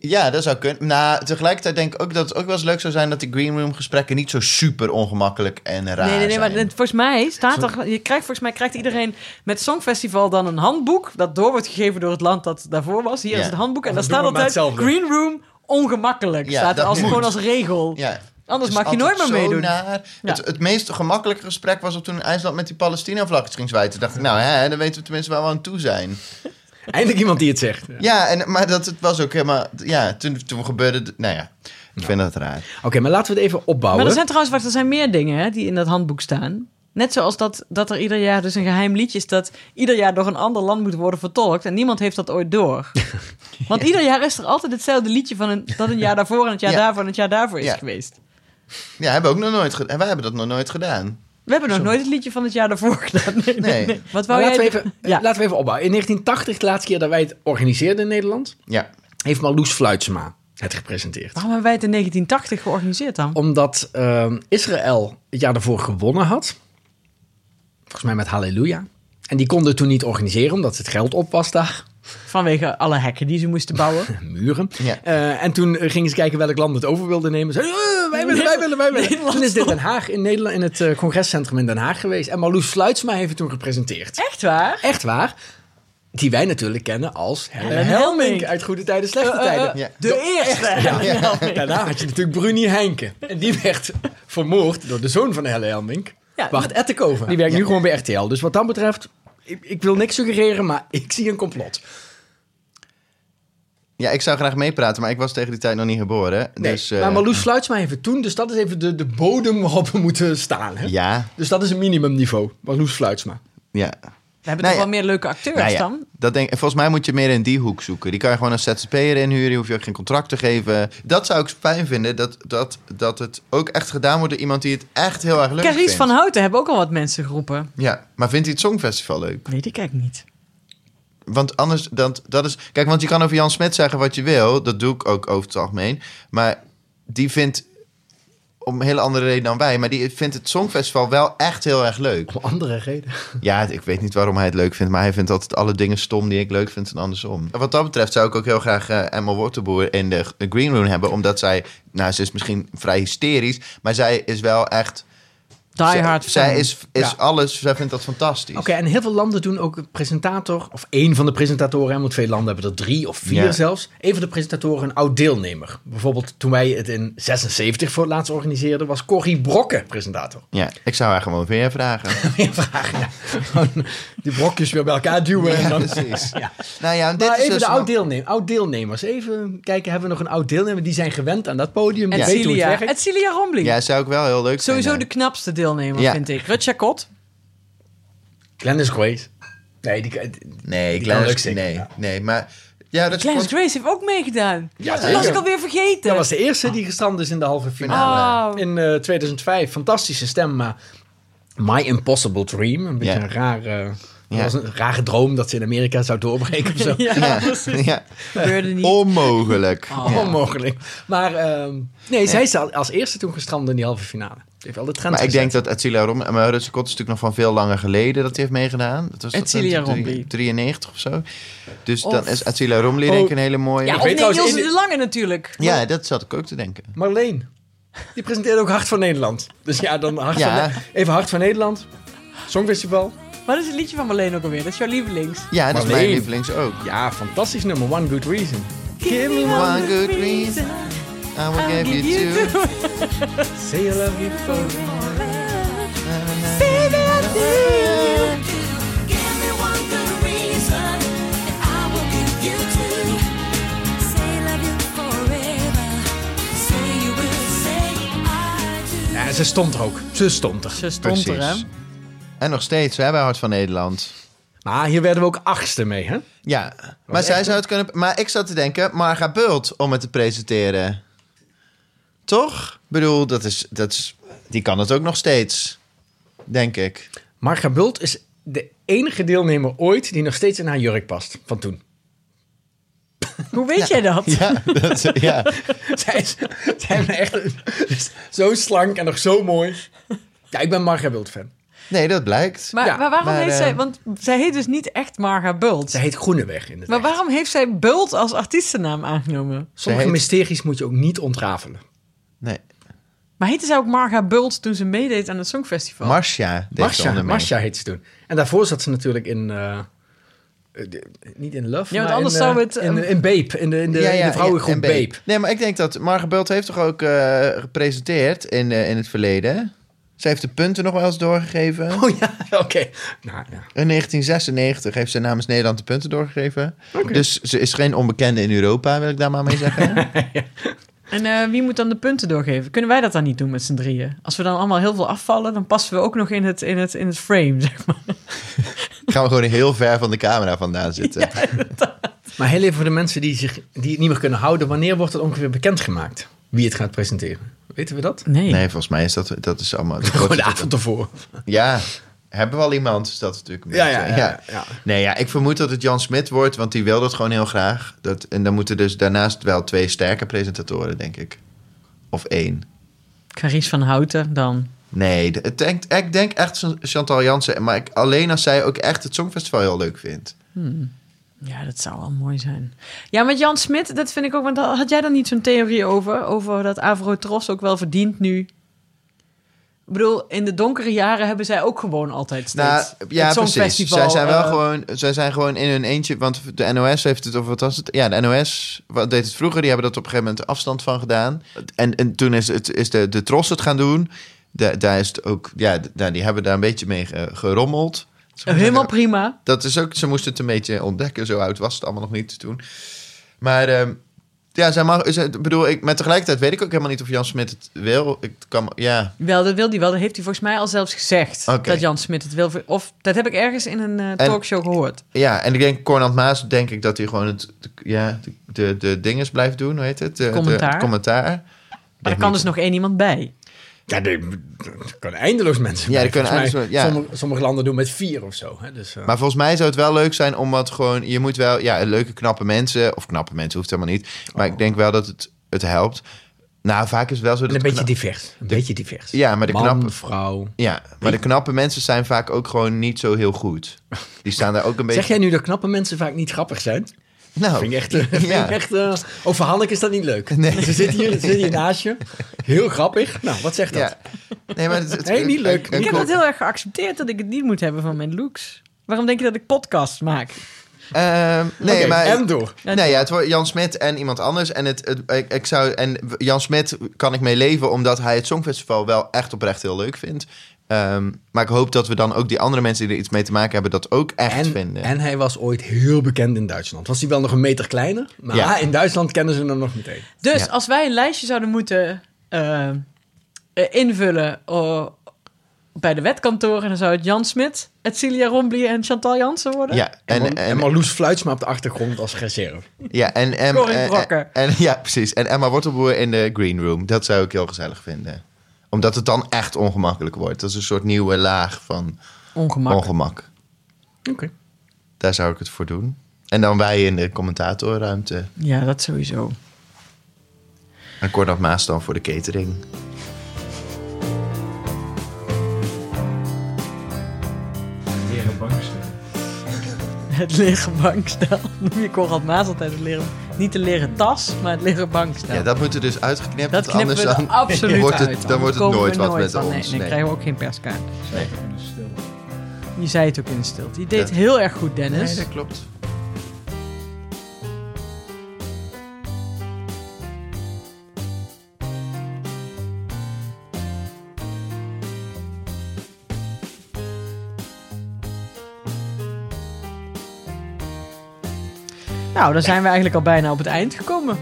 Speaker 2: Ja, dat zou kunnen. Nou, tegelijkertijd denk ik ook dat het ook wel eens leuk zou zijn... dat die green room gesprekken niet zo super ongemakkelijk en raar
Speaker 3: Nee, nee, nee, maar
Speaker 2: zijn.
Speaker 3: het- volgens mij staat er... Je krijgt, volgens mij krijgt iedereen met Songfestival dan een handboek... dat door wordt gegeven door het land dat daarvoor was. Hier
Speaker 2: Ja.
Speaker 3: is het handboek.
Speaker 4: Dan
Speaker 3: En daar staat
Speaker 4: doen we maar
Speaker 3: altijd
Speaker 4: hetzelfde.
Speaker 3: Green Room ongemakkelijk.
Speaker 2: Ja,
Speaker 3: staat er
Speaker 2: dat
Speaker 3: als,
Speaker 2: moet.
Speaker 3: gewoon als regel.
Speaker 2: Ja.
Speaker 3: Anders
Speaker 2: Het
Speaker 3: mag
Speaker 2: is
Speaker 3: je nooit meer
Speaker 2: altijd zo
Speaker 3: meedoen.
Speaker 2: naar.
Speaker 3: Ja.
Speaker 2: Het, het meest gemakkelijke gesprek was op toen in IJsland met die Palestina-vlag ging zwijten. dacht ik, nou hè, dan weten we tenminste waar we aan toe zijn.
Speaker 4: Eindelijk iemand die het zegt.
Speaker 2: Ja, en, maar dat het was ook helemaal... Ja, toen, toen gebeurde... het- Nou ja, ik vind dat raar.
Speaker 4: Oké, maar laten we het even opbouwen.
Speaker 3: Maar er zijn trouwens, wacht, er zijn meer dingen hè, die in dat handboek staan. Net zoals dat, dat er ieder jaar dus een geheim liedje is dat ieder jaar door een ander land moet worden vertolkt. En niemand heeft dat ooit door. Want ieder jaar is er altijd hetzelfde liedje van een, dat een jaar daarvoor en het jaar
Speaker 2: Ja.
Speaker 3: daarvoor en het jaar daarvoor is
Speaker 2: Ja.
Speaker 3: geweest.
Speaker 2: Ja, hebben we ook nog nooit... ge- en wij hebben dat nog nooit gedaan.
Speaker 3: We hebben nog nooit het liedje van het jaar daarvoor gedaan. Nee, nee,
Speaker 2: Nee.
Speaker 3: nee. Wat
Speaker 4: Maar
Speaker 3: wou
Speaker 4: laten,
Speaker 3: jij...
Speaker 4: we even, eh,
Speaker 3: Ja.
Speaker 4: laten we even opbouwen. In 1980, de laatste keer dat wij het organiseerden in Nederland,
Speaker 2: Ja.
Speaker 4: heeft Marloes Fluitsma het gepresenteerd.
Speaker 3: Waarom hebben wij het in 1980 georganiseerd dan?
Speaker 4: Omdat ehm, Israël het jaar daarvoor gewonnen had. Volgens mij met Halleluja. En die konden het toen niet organiseren, omdat het geld op was daar.
Speaker 3: Vanwege alle hekken die ze moesten bouwen.
Speaker 4: En muren.
Speaker 2: Ja.
Speaker 4: Eh, en toen eh, gingen ze kijken welk land het over wilde nemen. Ze zeiden, "Eh, wij willen, wij willen, wij willen. Toen is dit Den Haag in Nederland, in het eh, congrescentrum in Den Haag geweest. En Marloes Fluitsma heeft het toen gepresenteerd.
Speaker 3: Echt waar?
Speaker 4: Echt waar. Die wij natuurlijk kennen als Helen
Speaker 3: Helen Helmink.
Speaker 4: Helmink uit Goede Tijden, Slechte
Speaker 3: Eh, eh,
Speaker 4: Tijden.
Speaker 3: eh,
Speaker 2: Ja.
Speaker 3: De eerste.
Speaker 2: Ja.
Speaker 4: Daarna had je natuurlijk Bruni Heinke. En die werd vermoord door de zoon van Helle Helmink.
Speaker 3: Ja,
Speaker 4: Wacht, Ettenkoven. Die werkt nu
Speaker 2: Ja.
Speaker 4: gewoon bij RTL. Dus wat dat betreft, ik, ik wil niks suggereren, maar ik zie een complot.
Speaker 2: ja, ik zou graag meepraten, maar ik was tegen die tijd nog niet geboren.
Speaker 4: Nee,
Speaker 2: dus, eh,
Speaker 4: maar Marloes Fluitsma heeft het toen, dus dat is even de, de bodem waarop we moeten staan. Hè?
Speaker 2: Ja,
Speaker 4: Dus dat is een minimumniveau, Marloes Fluitsma.
Speaker 2: ja.
Speaker 3: We hebben
Speaker 2: Nou
Speaker 3: toch
Speaker 2: ja.
Speaker 3: wel meer leuke acteurs
Speaker 2: Nou ja,
Speaker 3: dan?
Speaker 2: dat denk, volgens mij moet je meer in die hoek zoeken. Die kan je gewoon als ZZP'er inhuren. Je hoeft je ook geen contract te geven. Dat zou ik fijn vinden. Dat, dat, dat het ook echt gedaan wordt door iemand die het echt heel erg leuk
Speaker 3: Carice
Speaker 2: vindt.
Speaker 3: van Houten hebben ook al wat mensen geroepen.
Speaker 2: Ja, maar vindt hij het Songfestival leuk?
Speaker 3: Weet ik eigenlijk niet.
Speaker 2: Want anders, dat, dat is... Kijk, want je kan over Jan Smet zeggen wat je wil. Dat doe ik ook over het algemeen. Maar die vindt, om een hele andere reden dan wij... maar die vindt het Songfestival wel echt heel erg leuk.
Speaker 4: Om andere reden.
Speaker 2: Ja, ik weet niet waarom hij het leuk vindt, maar hij vindt altijd alle dingen stom die ik leuk vind en andersom. Wat dat betreft zou ik ook heel graag eh, Emma Wortelboer in de g- Green Room hebben, omdat zij, nou, ze is misschien vrij hysterisch, maar zij is wel echt.
Speaker 3: Die
Speaker 2: zij,
Speaker 3: Hard
Speaker 2: zij
Speaker 3: fan.
Speaker 2: is, is
Speaker 4: Ja.
Speaker 2: alles, zij vindt dat fantastisch.
Speaker 4: Oké, en heel veel landen doen ook een presentator, of één van de presentatoren, hè, want veel landen hebben er drie of vier
Speaker 2: Ja.
Speaker 4: zelfs. Een van de presentatoren, een oud deelnemer. Bijvoorbeeld toen wij het in 76 voor het laatst organiseerden, was Corrie Brokke presentator.
Speaker 2: Ja, ik zou haar gewoon weer vragen.
Speaker 4: Meer vragen, ja. Gewoon Die brokjes weer bij elkaar duwen. en
Speaker 2: ja,
Speaker 4: dan...
Speaker 2: precies.
Speaker 4: Ja.
Speaker 2: Nou ja, dit
Speaker 4: Maar
Speaker 2: is
Speaker 4: even
Speaker 2: dus
Speaker 4: de
Speaker 2: een-
Speaker 4: oud, deelnemer, oud deelnemers. Even kijken, hebben we nog een oud deelnemer? Die zijn gewend aan dat podium. Die weten
Speaker 3: En
Speaker 4: hoe het
Speaker 3: Celia.
Speaker 4: werkt.
Speaker 3: En Celia Rombly.
Speaker 2: Ja, zou ik wel heel leuk
Speaker 3: Sowieso de
Speaker 2: vinden.
Speaker 3: knapste deelnemer,
Speaker 2: Ja.
Speaker 3: vind ik. Rutja Kot.
Speaker 4: Glennis Grace. Nee, die,
Speaker 2: Nee,
Speaker 4: Die kan leuk
Speaker 2: Glennis,
Speaker 4: zijn.
Speaker 2: nee,
Speaker 4: Ja.
Speaker 2: nee, maar... Ja, dat is
Speaker 3: Clarence
Speaker 2: gewoon-
Speaker 3: Grace heeft ook meegedaan.
Speaker 4: Ja,
Speaker 3: dat
Speaker 4: zeker.
Speaker 3: was ik alweer vergeten.
Speaker 4: dat was de eerste die gestrand is in de halve finale.
Speaker 3: Finale. Eh, ah. Oh.
Speaker 4: In eh, 2005. Fantastische stem, maar... My Impossible Dream. Een beetje
Speaker 2: Ja.
Speaker 4: een raar... eh,
Speaker 2: Ja.
Speaker 4: was een rare droom dat ze in Amerika zou doorbreken of zo.
Speaker 3: ja,
Speaker 2: Ja, ja.
Speaker 3: gebeurde
Speaker 2: Oh,
Speaker 3: niet.
Speaker 2: Onmogelijk.
Speaker 4: Oh.
Speaker 2: Ja.
Speaker 4: Onmogelijk. Maar ehm, nee, zij is al- als eerste toen gestrand in die halve finale. Ze heeft wel de trend
Speaker 2: Maar ik
Speaker 4: gezet.
Speaker 2: denk dat Attila Rom... eh, Maar Rutse Kot is natuurlijk nog van veel langer geleden dat hij heeft meegedaan. Dat was dat
Speaker 3: Attila
Speaker 2: in drie-
Speaker 3: Romli.
Speaker 2: 93 of zo. Dus
Speaker 3: Of- Oh.
Speaker 2: dan is Attila Romli denk ik een hele mooie...
Speaker 3: Ja,
Speaker 4: Ik
Speaker 3: of
Speaker 4: weet
Speaker 3: nee,
Speaker 4: trouwens,
Speaker 3: Ilse
Speaker 4: in de-
Speaker 3: de Lange natuurlijk.
Speaker 2: Ja, dat zat ik ook te denken.
Speaker 4: Marleen. Die presenteerde ook Hart van Nederland. Dus ja, dan Hart
Speaker 2: Ja.
Speaker 4: van, even Hart van Nederland. Songfestival.
Speaker 3: Wat is het liedje van Marleen ook alweer? Dat is jouw lievelings.
Speaker 2: Ja, dat is mijn
Speaker 4: Marleen.
Speaker 2: lievelings ook.
Speaker 4: Ja, fantastisch nummer. One Good Reason.
Speaker 3: Give me
Speaker 2: One good reason, I will give you two.
Speaker 4: Say you love you for- Ja, ze stond er ook. Ze stond er.
Speaker 3: Ze stond er, hè?
Speaker 2: Precies. En nog steeds, hè, bij Hart van Nederland.
Speaker 4: Maar hier werden we ook achtste mee, hè?
Speaker 2: Ja, maar zij zou het kunnen... Maar ik zat te denken, Marga Bult om het te presenteren. Toch? Ik bedoel, dat is, dat is... Die kan het ook nog steeds. Denk ik.
Speaker 4: Marga Bult is de enige deelnemer ooit die nog steeds in haar jurk past. Van toen.
Speaker 3: Hoe weet jij dat?
Speaker 2: Ja, dat, ja.
Speaker 4: Zij is, zij is echt zo slank en nog zo mooi. Ja, ik ben Marga Bult fan.
Speaker 2: Nee, dat blijkt.
Speaker 3: Maar,
Speaker 4: Ja,
Speaker 3: maar waarom
Speaker 2: maar,
Speaker 3: heeft
Speaker 2: eh,
Speaker 3: zij... Want zij heet dus niet echt Marga Bult.
Speaker 4: Ze heet Groeneweg
Speaker 2: dus
Speaker 4: in het
Speaker 3: Maar
Speaker 4: echt.
Speaker 3: waarom heeft zij Bult als artiestennaam aangenomen?
Speaker 4: Sommige
Speaker 2: Ze heet-
Speaker 4: mysteries moet je ook niet ontrafelen.
Speaker 2: Nee.
Speaker 3: Maar heette zij ook Marga Bult toen ze meedeed aan het Songfestival?
Speaker 2: Marcia deed ze
Speaker 4: Oh. Marcia,
Speaker 2: onder mee.
Speaker 4: Marcia heet ze toen. En daarvoor zat ze natuurlijk in... eh, eh, de- niet in Love,
Speaker 3: Ja, want
Speaker 4: maar
Speaker 3: anders
Speaker 4: in,
Speaker 3: zou
Speaker 4: eh,
Speaker 3: het,
Speaker 4: in,
Speaker 3: ehm,
Speaker 4: in Babe, in de, in de, in de vrouwengroep
Speaker 2: en
Speaker 4: Babe.
Speaker 2: Nee, maar ik denk dat Marga Bult heeft toch ook eh, gepresenteerd in, eh, in het verleden. Ze heeft de punten nog wel eens doorgegeven.
Speaker 4: Oh ja, oké. Nou, ja.
Speaker 2: In 1996 heeft ze namens Nederland de punten doorgegeven. Dus ze is geen onbekende in Europa, wil ik daar maar mee zeggen.
Speaker 3: En eh, wie moet dan de punten doorgeven? Kunnen wij dat dan niet doen met z'n drieën? Als we dan allemaal heel veel afvallen, dan passen we ook nog in het, in het, in het frame, zeg maar.
Speaker 2: Gaan we gewoon heel ver van de camera vandaan zitten.
Speaker 4: Maar heel even voor de mensen die, zich, die het niet meer kunnen houden. Wanneer wordt het ongeveer bekendgemaakt? Wie het gaat presenteren? Weten we dat?
Speaker 2: Nee, volgens mij is dat, dat is allemaal...
Speaker 4: Gewoon de avond ervoor.
Speaker 2: Ja, hebben we al iemand? Is dat natuurlijk een beetje- Nee, ja, ik vermoed dat het Jan Smit wordt, want die wil dat gewoon heel graag. Dat, en dan moeten dus daarnaast wel twee sterke presentatoren, denk ik. Of één.
Speaker 3: Caries van Houten dan.
Speaker 2: Nee, de- het denkt, ik denk echt Chantal Jansen. Maar ik, alleen als zij ook echt het Songfestival heel leuk vindt.
Speaker 3: Ja, dat zou wel mooi zijn. Ja, met Jan Smit, dat vind ik ook... Want daar had jij dan niet zo'n theorie over? Over dat Avro Tros ook wel verdient nu? Ik bedoel, in de donkere jaren hebben zij ook gewoon altijd steeds...
Speaker 2: Nou, ja, precies.
Speaker 3: het Songfestival,
Speaker 2: Zij zijn, wel
Speaker 3: eh,
Speaker 2: gewoon, zij zijn gewoon in hun eentje. Want de NOS heeft het, of wat was het? Ja, de NOS wat deed het vroeger. Die hebben dat op een gegeven moment afstand van gedaan. En, en toen is, het, is de, de Tros het gaan doen. Da- daar is het ook, ja, d- nou, die hebben daar een beetje mee ge- gerommeld.
Speaker 3: Helemaal prima.
Speaker 2: Dat is ook, ze moesten het een beetje ontdekken. Zo oud was het allemaal nog niet toen. Maar ehm, ja, zij mag, ze- bedoel, ik, maar tegelijkertijd weet ik ook helemaal niet of Jan Smit het wil. Ik kan, ja,
Speaker 3: Wel, dat wil hij wel. Dat heeft hij volgens mij al zelfs gezegd.
Speaker 2: Oké.
Speaker 3: Dat Jan Smit het wil. ver- Of dat heb ik ergens in een eh, talkshow gehoord.
Speaker 2: Ja, en ik denk Cornel Maas, denk ik dat hij gewoon het, de, ja, de, de, de dinges blijft doen, hoe heet het? De, de-
Speaker 3: Commentaar.
Speaker 2: het commentaar.
Speaker 3: Maar er kan dus nog één iemand bij.
Speaker 4: Ja, nee, er kunnen eindeloos mensen
Speaker 2: Ja,
Speaker 4: bij.
Speaker 2: er kunnen
Speaker 4: Volgens mij,
Speaker 2: eindeloos- ja.
Speaker 4: sommige, sommige landen doen met vier of zo. Hè? Dus, eh,
Speaker 2: Maar volgens mij zou het wel leuk zijn om wat gewoon, je moet wel, ja, leuke knappe mensen, of knappe mensen hoeft helemaal niet, maar ik denk wel dat het, het helpt. Nou, vaak is het wel zo dat...
Speaker 4: Oh. en een
Speaker 2: de
Speaker 4: beetje
Speaker 2: kna-
Speaker 4: divers. Een beetje divers.
Speaker 2: Ja, maar de
Speaker 4: Man,
Speaker 2: knappe-
Speaker 4: vrouw.
Speaker 2: Ja, maar de knappe mensen zijn vaak ook gewoon niet zo heel goed. Die staan daar ook een beetje...
Speaker 4: Zeg jij nu dat knappe mensen vaak niet grappig zijn?
Speaker 2: nou,
Speaker 4: Vind ik echt... eh, vind ik
Speaker 2: Ja.
Speaker 4: echt eh, over Hanneke is dat niet leuk.
Speaker 2: Nee.
Speaker 4: Ze zit hier, ze zit hier naast je. Heel grappig. Nou, wat zegt dat?
Speaker 2: ja. Nee, maar het, het-
Speaker 4: Nee, niet leuk.
Speaker 2: een- een
Speaker 3: Ik heb
Speaker 2: klop-
Speaker 3: dat heel erg geaccepteerd dat ik het niet moet hebben van mijn looks. Waarom denk je dat ik podcasts maak?
Speaker 2: Ehm, nee,
Speaker 4: Oké,
Speaker 2: maar...
Speaker 4: En door.
Speaker 2: Nee, ja, het wordt Jan Smit en iemand anders. En, het, het- ik, ik zou, en Jan Smit kan ik mee leven, omdat hij het Songfestival wel echt oprecht heel leuk vindt. Ehm, maar ik hoop dat we dan ook die andere mensen die er iets mee te maken hebben, dat ook echt
Speaker 4: En,
Speaker 2: vinden.
Speaker 4: en hij was ooit heel bekend in Duitsland. Was hij wel nog een meter kleiner? Maar
Speaker 2: Ja.
Speaker 4: in Duitsland kennen ze hem nog meteen.
Speaker 3: Dus
Speaker 2: Ja.
Speaker 3: als wij een lijstje zouden moeten eh, eh, invullen eh, bij de wetkantoren, dan zou het Jan Smit, Celia Rombly en Chantal Jansen worden.
Speaker 2: ja, en,
Speaker 4: En,
Speaker 2: en,
Speaker 4: en Marloes Fluitsma op de achtergrond als reserve.
Speaker 2: ja, en, en,
Speaker 3: Corinne
Speaker 2: en-
Speaker 3: Brokker.
Speaker 2: en- ja, precies. En Emma Wortelboer in de Green Room. Dat zou ik heel gezellig vinden. Omdat het dan echt ongemakkelijk wordt. Dat is een soort nieuwe laag van
Speaker 3: Ongemak.
Speaker 2: ongemak.
Speaker 4: Oké.
Speaker 2: Daar zou ik het voor doen. En dan wij in de commentatorruimte.
Speaker 3: Ja, dat sowieso.
Speaker 2: En Cornel Maas dan voor de catering.
Speaker 7: Leren bang zijn.
Speaker 3: Het leren bankstel. Noem je Conrad Maas altijd het leren... Niet de leren tas, maar het leren bankstel.
Speaker 2: Ja, dat moet er dus uitgeknipt.
Speaker 3: dat
Speaker 2: want
Speaker 3: knippen
Speaker 2: anders
Speaker 3: we er
Speaker 2: dan
Speaker 3: absoluut
Speaker 2: wordt het,
Speaker 3: uit.
Speaker 2: Dan wordt het
Speaker 3: Komen we
Speaker 2: nooit wat met
Speaker 3: van. Nee,
Speaker 2: ons.
Speaker 3: Nee,
Speaker 2: nee.
Speaker 3: krijgen we ook geen perskaart.
Speaker 7: Zelf in de stil.
Speaker 3: Je zei het ook in de stilte. Je deed het
Speaker 2: Ja.
Speaker 3: heel erg goed, Dennis.
Speaker 2: Nee, dat klopt.
Speaker 3: Nou, dan zijn we eigenlijk al bijna op het eind gekomen.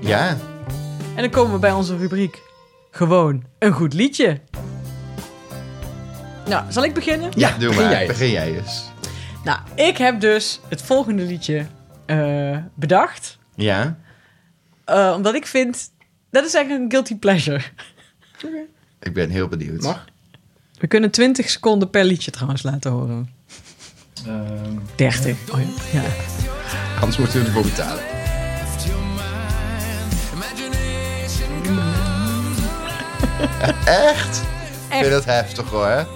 Speaker 2: Ja,
Speaker 3: En dan komen we bij onze rubriek. Gewoon een goed liedje. Nou, zal ik beginnen?
Speaker 4: Ja,
Speaker 2: doe
Speaker 4: begin
Speaker 2: maar.
Speaker 4: jij.
Speaker 2: Begin jij eens.
Speaker 3: Nou, ik heb dus het volgende liedje eh, bedacht.
Speaker 2: Ja.
Speaker 3: Eh, omdat ik vind... Dat is eigenlijk een guilty pleasure.
Speaker 2: Ik ben heel benieuwd.
Speaker 4: Mag?
Speaker 3: We kunnen 20 seconden per liedje trouwens laten horen.
Speaker 7: Ehm,
Speaker 3: 30. ja.
Speaker 2: Anders moeten we ervoor betalen. Echt? Ik vind dat heftig hoor.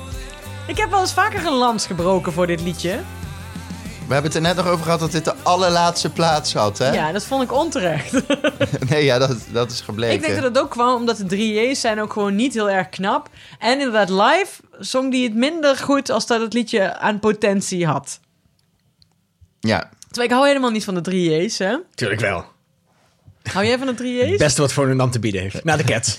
Speaker 3: Ik heb wel eens vaker een lans gebroken voor dit liedje.
Speaker 2: We hebben het er net nog over gehad dat dit de allerlaatste plaats had, hè?
Speaker 3: Ja, dat vond ik onterecht.
Speaker 2: Nee, ja, dat, dat is gebleken.
Speaker 3: Ik denk dat het ook kwam omdat de 3J's zijn ook gewoon niet heel erg knap. En inderdaad, live zong die het minder goed als dat het liedje aan potentie had.
Speaker 2: Ja,
Speaker 3: Terwijl ik hou helemaal niet van de 3J's, hè?
Speaker 4: Tuurlijk wel.
Speaker 3: Hou jij van de 3J's?
Speaker 4: Het beste wat Volendam te bieden heeft. Na de cat.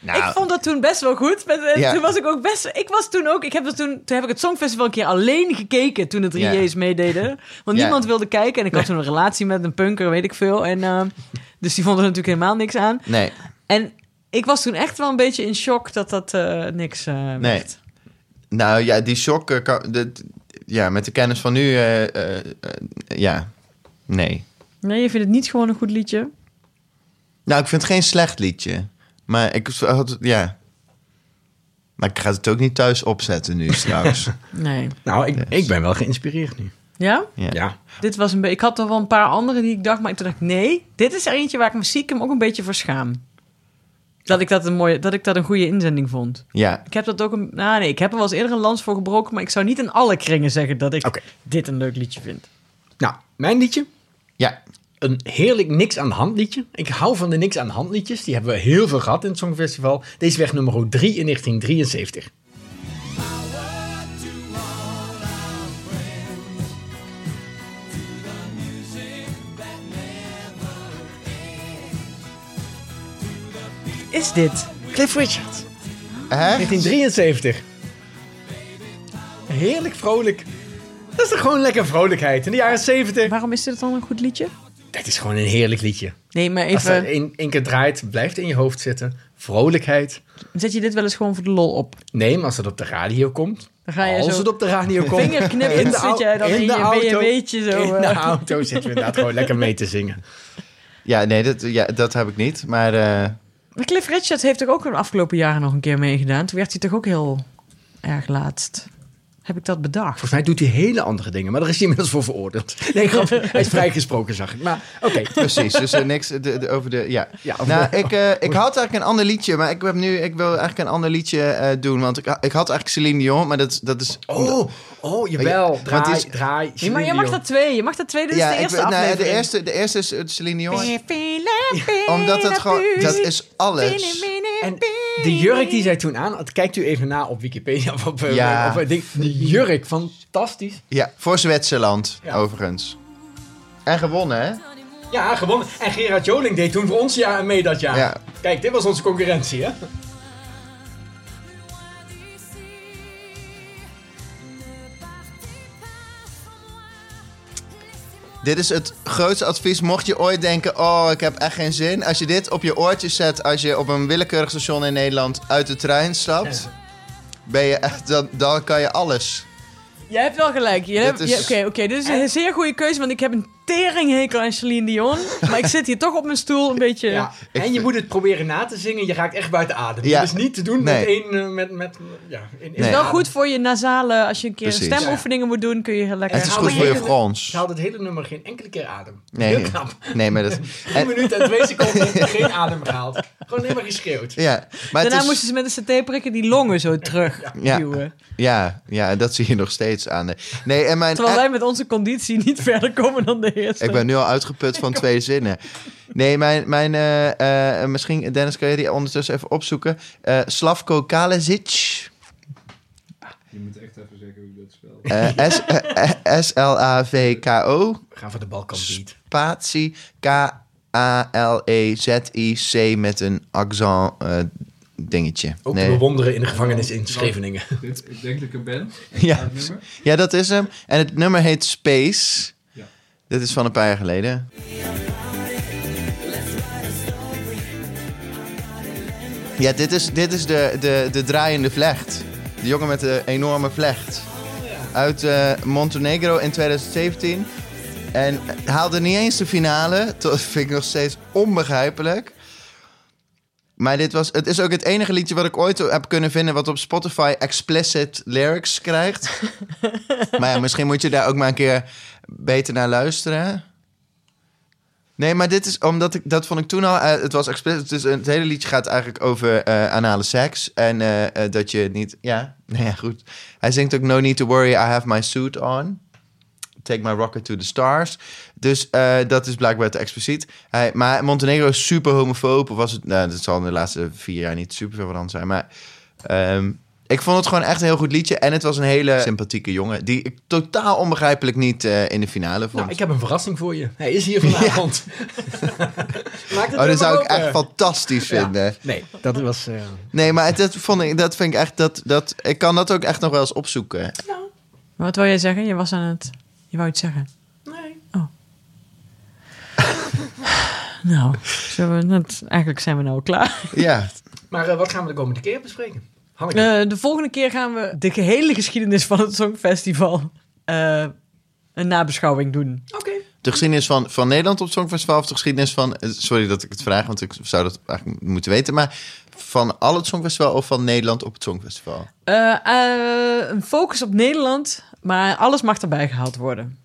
Speaker 2: nou,
Speaker 3: Ik vond dat toen best wel goed. Met, en
Speaker 2: Ja.
Speaker 3: Toen was ik ook best. Ik was toen ook. Ik heb dat toen, toen heb ik het Songfestival een keer alleen gekeken toen de 3J's
Speaker 2: Ja.
Speaker 3: meededen. Want
Speaker 2: Ja.
Speaker 3: niemand wilde kijken. En ik had toen een relatie met een punker, weet ik veel. En, ehm, dus die vond er natuurlijk helemaal niks aan.
Speaker 2: nee,
Speaker 3: En ik was toen echt wel een beetje in shock dat dat eh, niks eh
Speaker 2: nee.
Speaker 3: werd.
Speaker 2: Nou ja, die shock, eh, kan, dat- ja, met de kennis van nu, eh, eh, eh, ja, nee.
Speaker 3: Nee, je vindt het niet gewoon een goed liedje?
Speaker 2: Nou, ik vind het geen slecht liedje, maar ik had, ja. Maar ik ga het ook niet thuis opzetten nu, trouwens.
Speaker 3: Nee.
Speaker 4: nou, ik, ik ben wel geïnspireerd nu.
Speaker 3: Ja?
Speaker 4: Ja.
Speaker 3: Dit was een be- ik had er wel een paar andere die ik dacht, maar toen dacht ik, nee, dit is er eentje waar ik me stiekem ook een beetje voor schaam. Dat ik dat een, mooie, dat ik dat een goede inzending vond.
Speaker 2: ja,
Speaker 3: Ik heb dat ook een. Nou nee, ik heb er wel eens eerder een lans voor gebroken, maar ik zou niet in alle kringen zeggen dat ik
Speaker 4: Oké.
Speaker 3: dit een leuk liedje vind.
Speaker 4: Nou, mijn liedje.
Speaker 2: ja,
Speaker 4: Een heerlijk niks aan de hand liedje. Ik hou van de niks aan de hand liedjes. Die hebben we heel veel gehad in het Songfestival. Deze weg nummer 3 in 1973.
Speaker 3: Is dit?
Speaker 4: Cliff Richard.
Speaker 2: echt?
Speaker 4: 1973. Heerlijk vrolijk. Dat is toch gewoon lekker vrolijkheid. In de jaren 70.
Speaker 3: Waarom is dit dan een goed liedje?
Speaker 4: Dat is gewoon een heerlijk liedje.
Speaker 3: Nee, maar
Speaker 4: Als dat
Speaker 3: even.
Speaker 4: één één keer draait, blijft in je hoofd zitten. Vrolijkheid.
Speaker 3: Zet je dit wel eens gewoon voor de lol op?
Speaker 4: Nee, maar als het op de radio komt.
Speaker 3: Dan ga je
Speaker 4: als
Speaker 3: zo
Speaker 4: het op de radio komt. in
Speaker 3: vingerknippend
Speaker 4: de
Speaker 3: zit jij dan
Speaker 4: au-
Speaker 3: in,
Speaker 4: de
Speaker 3: je
Speaker 4: auto.
Speaker 3: BMW'tje zo.
Speaker 4: In de
Speaker 3: eh.
Speaker 4: auto zitten we inderdaad gewoon lekker mee te zingen.
Speaker 2: Ja, nee, dat, ja, dat heb ik niet, maar eh,
Speaker 3: Maar Cliff Richard heeft toch ook de afgelopen jaren nog een keer meegedaan. Toen werd hij toch ook heel erg laatst. Heb ik dat bedacht?
Speaker 4: Volgens mij doet hij hele andere dingen, maar daar is hij inmiddels voor veroordeeld. Nee, grap, hij is vrijgesproken, zag ik. Maar oké,
Speaker 2: precies. Dus eh, niks eh, de- de- over de, ja.
Speaker 4: ja,
Speaker 2: Nou, ik, eh, ik had eigenlijk een ander liedje, maar ik, heb nu, ik wil eigenlijk een ander liedje eh, doen. Want ik, ik had eigenlijk Celine Dion, maar dat, is- dat is...
Speaker 4: Oh, oh, jawel.
Speaker 2: Want
Speaker 4: Draai,
Speaker 2: het is-
Speaker 4: draai.
Speaker 3: Nee, maar je
Speaker 4: Celine
Speaker 3: mag
Speaker 4: Dion.
Speaker 3: dat twee. Je mag dat twee. Dit is de
Speaker 2: ik
Speaker 3: eerste
Speaker 2: weet- nou,
Speaker 3: aflevering.
Speaker 2: de, eerste, de eerste is eh, Celine Dion.
Speaker 3: Filippi,
Speaker 2: Omdat het gewoon...
Speaker 3: Filippi,
Speaker 2: Dat is alles.
Speaker 3: Filippi,
Speaker 4: En de jurk die zij toen aan had, kijkt u even na op Wikipedia. Of op, eh,
Speaker 2: Ja.
Speaker 4: op, eh, ding. de jurk, fantastisch.
Speaker 2: Ja, voor Zwitserland,
Speaker 4: Ja.
Speaker 2: overigens. En gewonnen, hè?
Speaker 4: Ja, gewonnen. En Gerard Joling deed toen voor ons ja mee dat jaar.
Speaker 2: Ja.
Speaker 4: Kijk, dit was onze concurrentie, hè?
Speaker 2: Dit is het grootste advies. Mocht je ooit denken, oh, ik heb echt geen zin. Als je dit op je oortjes zet als je op een willekeurig station in Nederland uit de trein stapt... Ben je echt, dan, dan kan je alles.
Speaker 3: Jij hebt wel gelijk. Je hebt- je-
Speaker 2: is-
Speaker 3: Oké, oké, dit is een zeer goede keuze, want ik heb een teringhekel aan Celine Dion. maar ik zit hier toch op mijn stoel een beetje...
Speaker 4: Ja. En je
Speaker 2: vind-
Speaker 4: moet het proberen na te zingen. Je raakt echt buiten adem.
Speaker 2: Ja.
Speaker 4: Dat is niet te doen
Speaker 2: Nee.
Speaker 4: met één... eh, met, met, ja, in, in
Speaker 2: Nee.
Speaker 3: Het is wel
Speaker 4: adem.
Speaker 3: goed voor je nasale... Als je een keer
Speaker 2: Precies.
Speaker 3: stemoefeningen moet doen, kun je heel lekker...
Speaker 2: Het is
Speaker 4: hou
Speaker 2: goed
Speaker 4: me
Speaker 2: voor je
Speaker 4: even-
Speaker 2: Frans.
Speaker 4: Ze haalde het hele nummer geen enkele keer adem.
Speaker 2: Nee.
Speaker 4: Heel knap. 10
Speaker 2: Nee, maar dat... en-
Speaker 4: minuten en 2 seconden geen adem gehaald. Gewoon alleen maar geschreeuwd.
Speaker 2: ja, maar het
Speaker 3: Daarna
Speaker 2: is,
Speaker 3: moesten ze met een CT-prikken die longen zo terug
Speaker 2: Ja.
Speaker 3: duwen.
Speaker 2: ja, ja, dat zie je nog steeds aan. de- Nee, en mijn,
Speaker 3: Terwijl
Speaker 2: en-
Speaker 3: wij met onze conditie niet verder komen dan de eerste.
Speaker 2: Ik ben nu al uitgeput van twee zinnen. Nee, mijn, mijn eh, eh, misschien, Dennis, kan je die ondertussen even opzoeken? Eh, Slavko Kalezic.
Speaker 7: Je moet echt even zeggen hoe dat spelt.
Speaker 2: Eh, S- eh, eh, S-L-A-V-K-O.
Speaker 4: We gaan voor de Balkan Beat.
Speaker 2: Spatie E K-A-L-E-Z-I-C met een accent eh, dingetje.
Speaker 4: Ook te
Speaker 2: Nee.
Speaker 4: bewonderen in de gevangenis in Scheveningen.
Speaker 7: Dit, ik denk dat ik er ben.
Speaker 2: Ja.
Speaker 7: Het nummer.
Speaker 2: ja, dat is hem. En het nummer heet Space.
Speaker 7: Ja.
Speaker 2: Dit is van een paar jaar geleden. Ja, dit is, dit is de, de, de draaiende vlecht. De jongen met de enorme vlecht.
Speaker 7: Oh,
Speaker 2: Uit eh, Montenegro in 2017. En haalde niet eens de finale. Dat vind ik nog steeds onbegrijpelijk. Maar dit was, het is ook het enige liedje wat ik ooit heb kunnen vinden... wat op Spotify explicit lyrics krijgt. maar ja, misschien moet je daar ook maar een keer beter naar luisteren. Nee, maar dit is omdat ik dat vond ik toen al. eh, het was expliciet. Dus het hele liedje gaat eigenlijk over eh, anale seks. En eh, eh, dat je niet. Ja, nou ja, goed. Hij zingt ook No Need to Worry, I Have My Suit On. Take My Rocket to the Stars. Dus eh, dat is blijkbaar te expliciet. Hij, maar Montenegro is super homofoob. Of was het. Nou, dat zal in de laatste vier jaar niet super veel veranderd zijn. Maar. ehm, ik vond het gewoon echt een heel goed liedje. En het was een hele sympathieke jongen. Die ik totaal onbegrijpelijk niet eh, in de finale vond.
Speaker 4: Nou, ik heb een verrassing voor je. Hij is hier vanavond. Maak het
Speaker 2: Oh, dat
Speaker 4: nummer
Speaker 2: zou ik
Speaker 4: open.
Speaker 2: echt fantastisch
Speaker 4: Ja.
Speaker 2: vinden.
Speaker 4: Nee, dat was... eh,
Speaker 2: Nee, maar het- dat, vond ik, dat vind ik echt... Dat, dat, ik kan dat ook echt nog wel eens opzoeken.
Speaker 3: Maar wat wil jij zeggen? Je was aan het... Je wou iets zeggen.
Speaker 4: nee.
Speaker 3: Nou, zullen we net, eigenlijk zijn we nou al klaar.
Speaker 2: Ja.
Speaker 4: Maar eh, wat gaan we de komende keer bespreken? Hanneke.
Speaker 3: Eh, de volgende keer gaan we de gehele geschiedenis van het Songfestival eh, een nabeschouwing doen.
Speaker 2: Eh.
Speaker 4: Oké.
Speaker 2: De geschiedenis van, van Nederland op het Songfestival... of de geschiedenis van... eh, Sorry dat ik het vraag, want ik zou dat eigenlijk moeten weten. Maar van al het Songfestival of van Nederland op het Songfestival?
Speaker 3: Eh, eh, een focus op Nederland, maar alles mag erbij gehaald worden.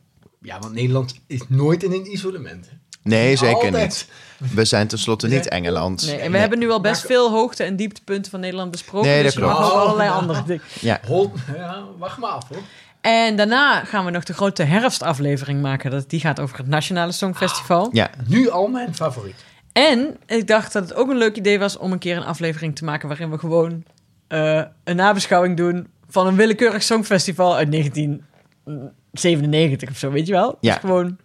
Speaker 4: Ja, want Nederland is nooit in een isolement. hè?
Speaker 2: Nee, zeker
Speaker 4: Altijd.
Speaker 2: niet. We zijn tenslotte niet
Speaker 4: Nee.
Speaker 2: Engeland.
Speaker 3: Nee, en we hebben nu al best veel hoogte- en dieptepunten van Nederland besproken.
Speaker 2: Nee, dat
Speaker 3: dus je mag
Speaker 2: klopt.
Speaker 3: nog allerlei
Speaker 4: Oh.
Speaker 3: andere dingen.
Speaker 2: Ja.
Speaker 4: Hol- ja, wacht maar af hoor.
Speaker 3: En daarna gaan we nog de grote herfstaflevering maken. Dat, die gaat over het Nationale Songfestival.
Speaker 2: Ja.
Speaker 4: Nu al mijn favoriet.
Speaker 3: En ik dacht dat het ook een leuk idee was om een keer een aflevering te maken waarin we gewoon eh, een nabeschouwing doen van een willekeurig songfestival uit 1997 of zo, weet je wel?
Speaker 2: Ja.
Speaker 3: Dus gewoon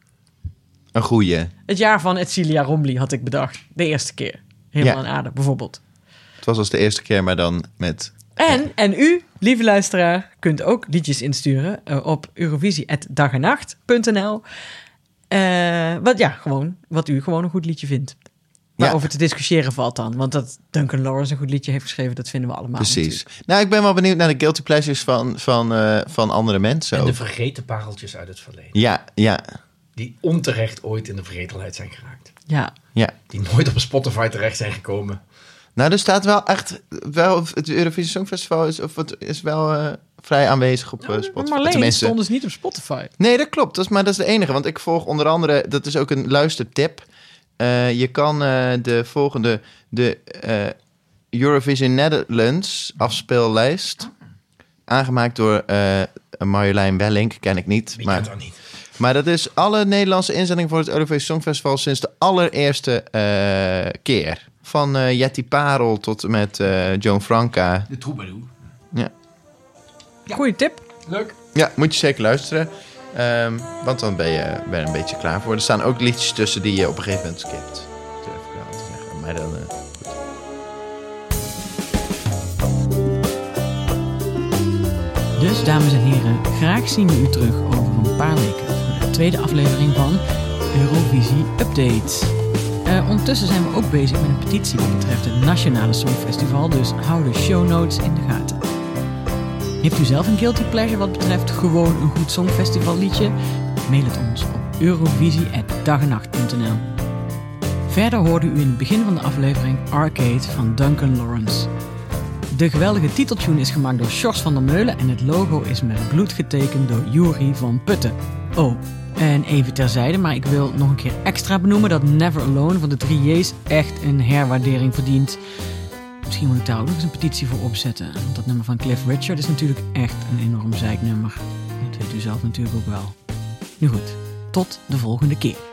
Speaker 2: Een goeie.
Speaker 3: het jaar van Edcilia Rombly had ik bedacht. De eerste keer. Helemaal
Speaker 2: Ja.
Speaker 3: aan aarde, bijvoorbeeld.
Speaker 2: Het was als de eerste keer, maar dan met...
Speaker 3: En, en u, lieve luisteraar, kunt ook liedjes insturen eh, op eurovisie.dagenacht.nl. Eh wat, ja, gewoon, wat u gewoon een goed liedje vindt. Waarover te discussiëren valt dan. Want dat Duncan Lawrence een goed liedje heeft geschreven, dat vinden we allemaal.
Speaker 2: Precies. Nou, ik ben wel benieuwd naar de guilty pleasures van, van, eh, van andere mensen.
Speaker 4: En de
Speaker 2: ook.
Speaker 4: vergeten pareltjes uit het verleden.
Speaker 2: Ja, ja,
Speaker 4: Die onterecht ooit in de vergetelheid zijn geraakt.
Speaker 3: natuurlijk. Ja,
Speaker 2: ja.
Speaker 4: Die nooit op Spotify terecht zijn gekomen.
Speaker 2: Nou, er staat wel echt... Wel, of het Eurovisie Songfestival is, of het is wel eh, vrij aanwezig op eh, Spotify.
Speaker 3: Maar alleen
Speaker 2: Tenminste-
Speaker 3: stond dus niet op Spotify.
Speaker 2: Nee, dat klopt. Dat is, maar dat is de enige. Want ik volg onder andere... Dat is ook een luistertip. Eh, je kan eh, de volgende... De eh, Eurovision Netherlands afspeellijst...
Speaker 3: Ah.
Speaker 2: Aangemaakt door eh, Marjolein Wellink. Ken ik niet.
Speaker 4: Weet je
Speaker 2: maar
Speaker 4: dat dan niet?
Speaker 2: maar dat is alle Nederlandse inzendingen voor het Eurovisie Songfestival sinds de allereerste eh, keer. Van eh Jetty Parel tot en met eh, Joan Franca.
Speaker 4: De troubadour.
Speaker 3: Goeie tip.
Speaker 4: Leuk.
Speaker 2: Ja, moet je zeker luisteren. Ehm, want dan ben je, ben je een beetje klaar voor. Er staan ook liedjes tussen die je op een gegeven moment skipt. Durf ik wel te zeggen. Maar dan... eh,
Speaker 9: Dus dames en heren, graag zien we u terug over een paar weken voor de tweede aflevering van Eurovisie Update. Eh, ondertussen zijn we ook bezig met een petitie wat betreft het Nationale Songfestival, dus hou de show notes in de gaten. Heeft u zelf een guilty pleasure wat betreft gewoon een goed Songfestival liedje? Mail het ons op eurovisie.dagenacht.nl Verder hoorde u in het begin van de aflevering Arcade van Duncan Lawrence. De geweldige titeltune is gemaakt door Sjors van der Meulen en het logo is met bloed getekend door Juri van Putten. Oh, en even terzijde, maar ik wil nog een keer extra benoemen dat Never Alone van de 3J's echt een herwaardering verdient. Misschien moet ik daar ook nog eens een petitie voor opzetten, want dat nummer van Cliff Richard is natuurlijk echt een enorm zeiknummer. Dat weet u zelf natuurlijk ook wel. Nu goed, tot de volgende keer.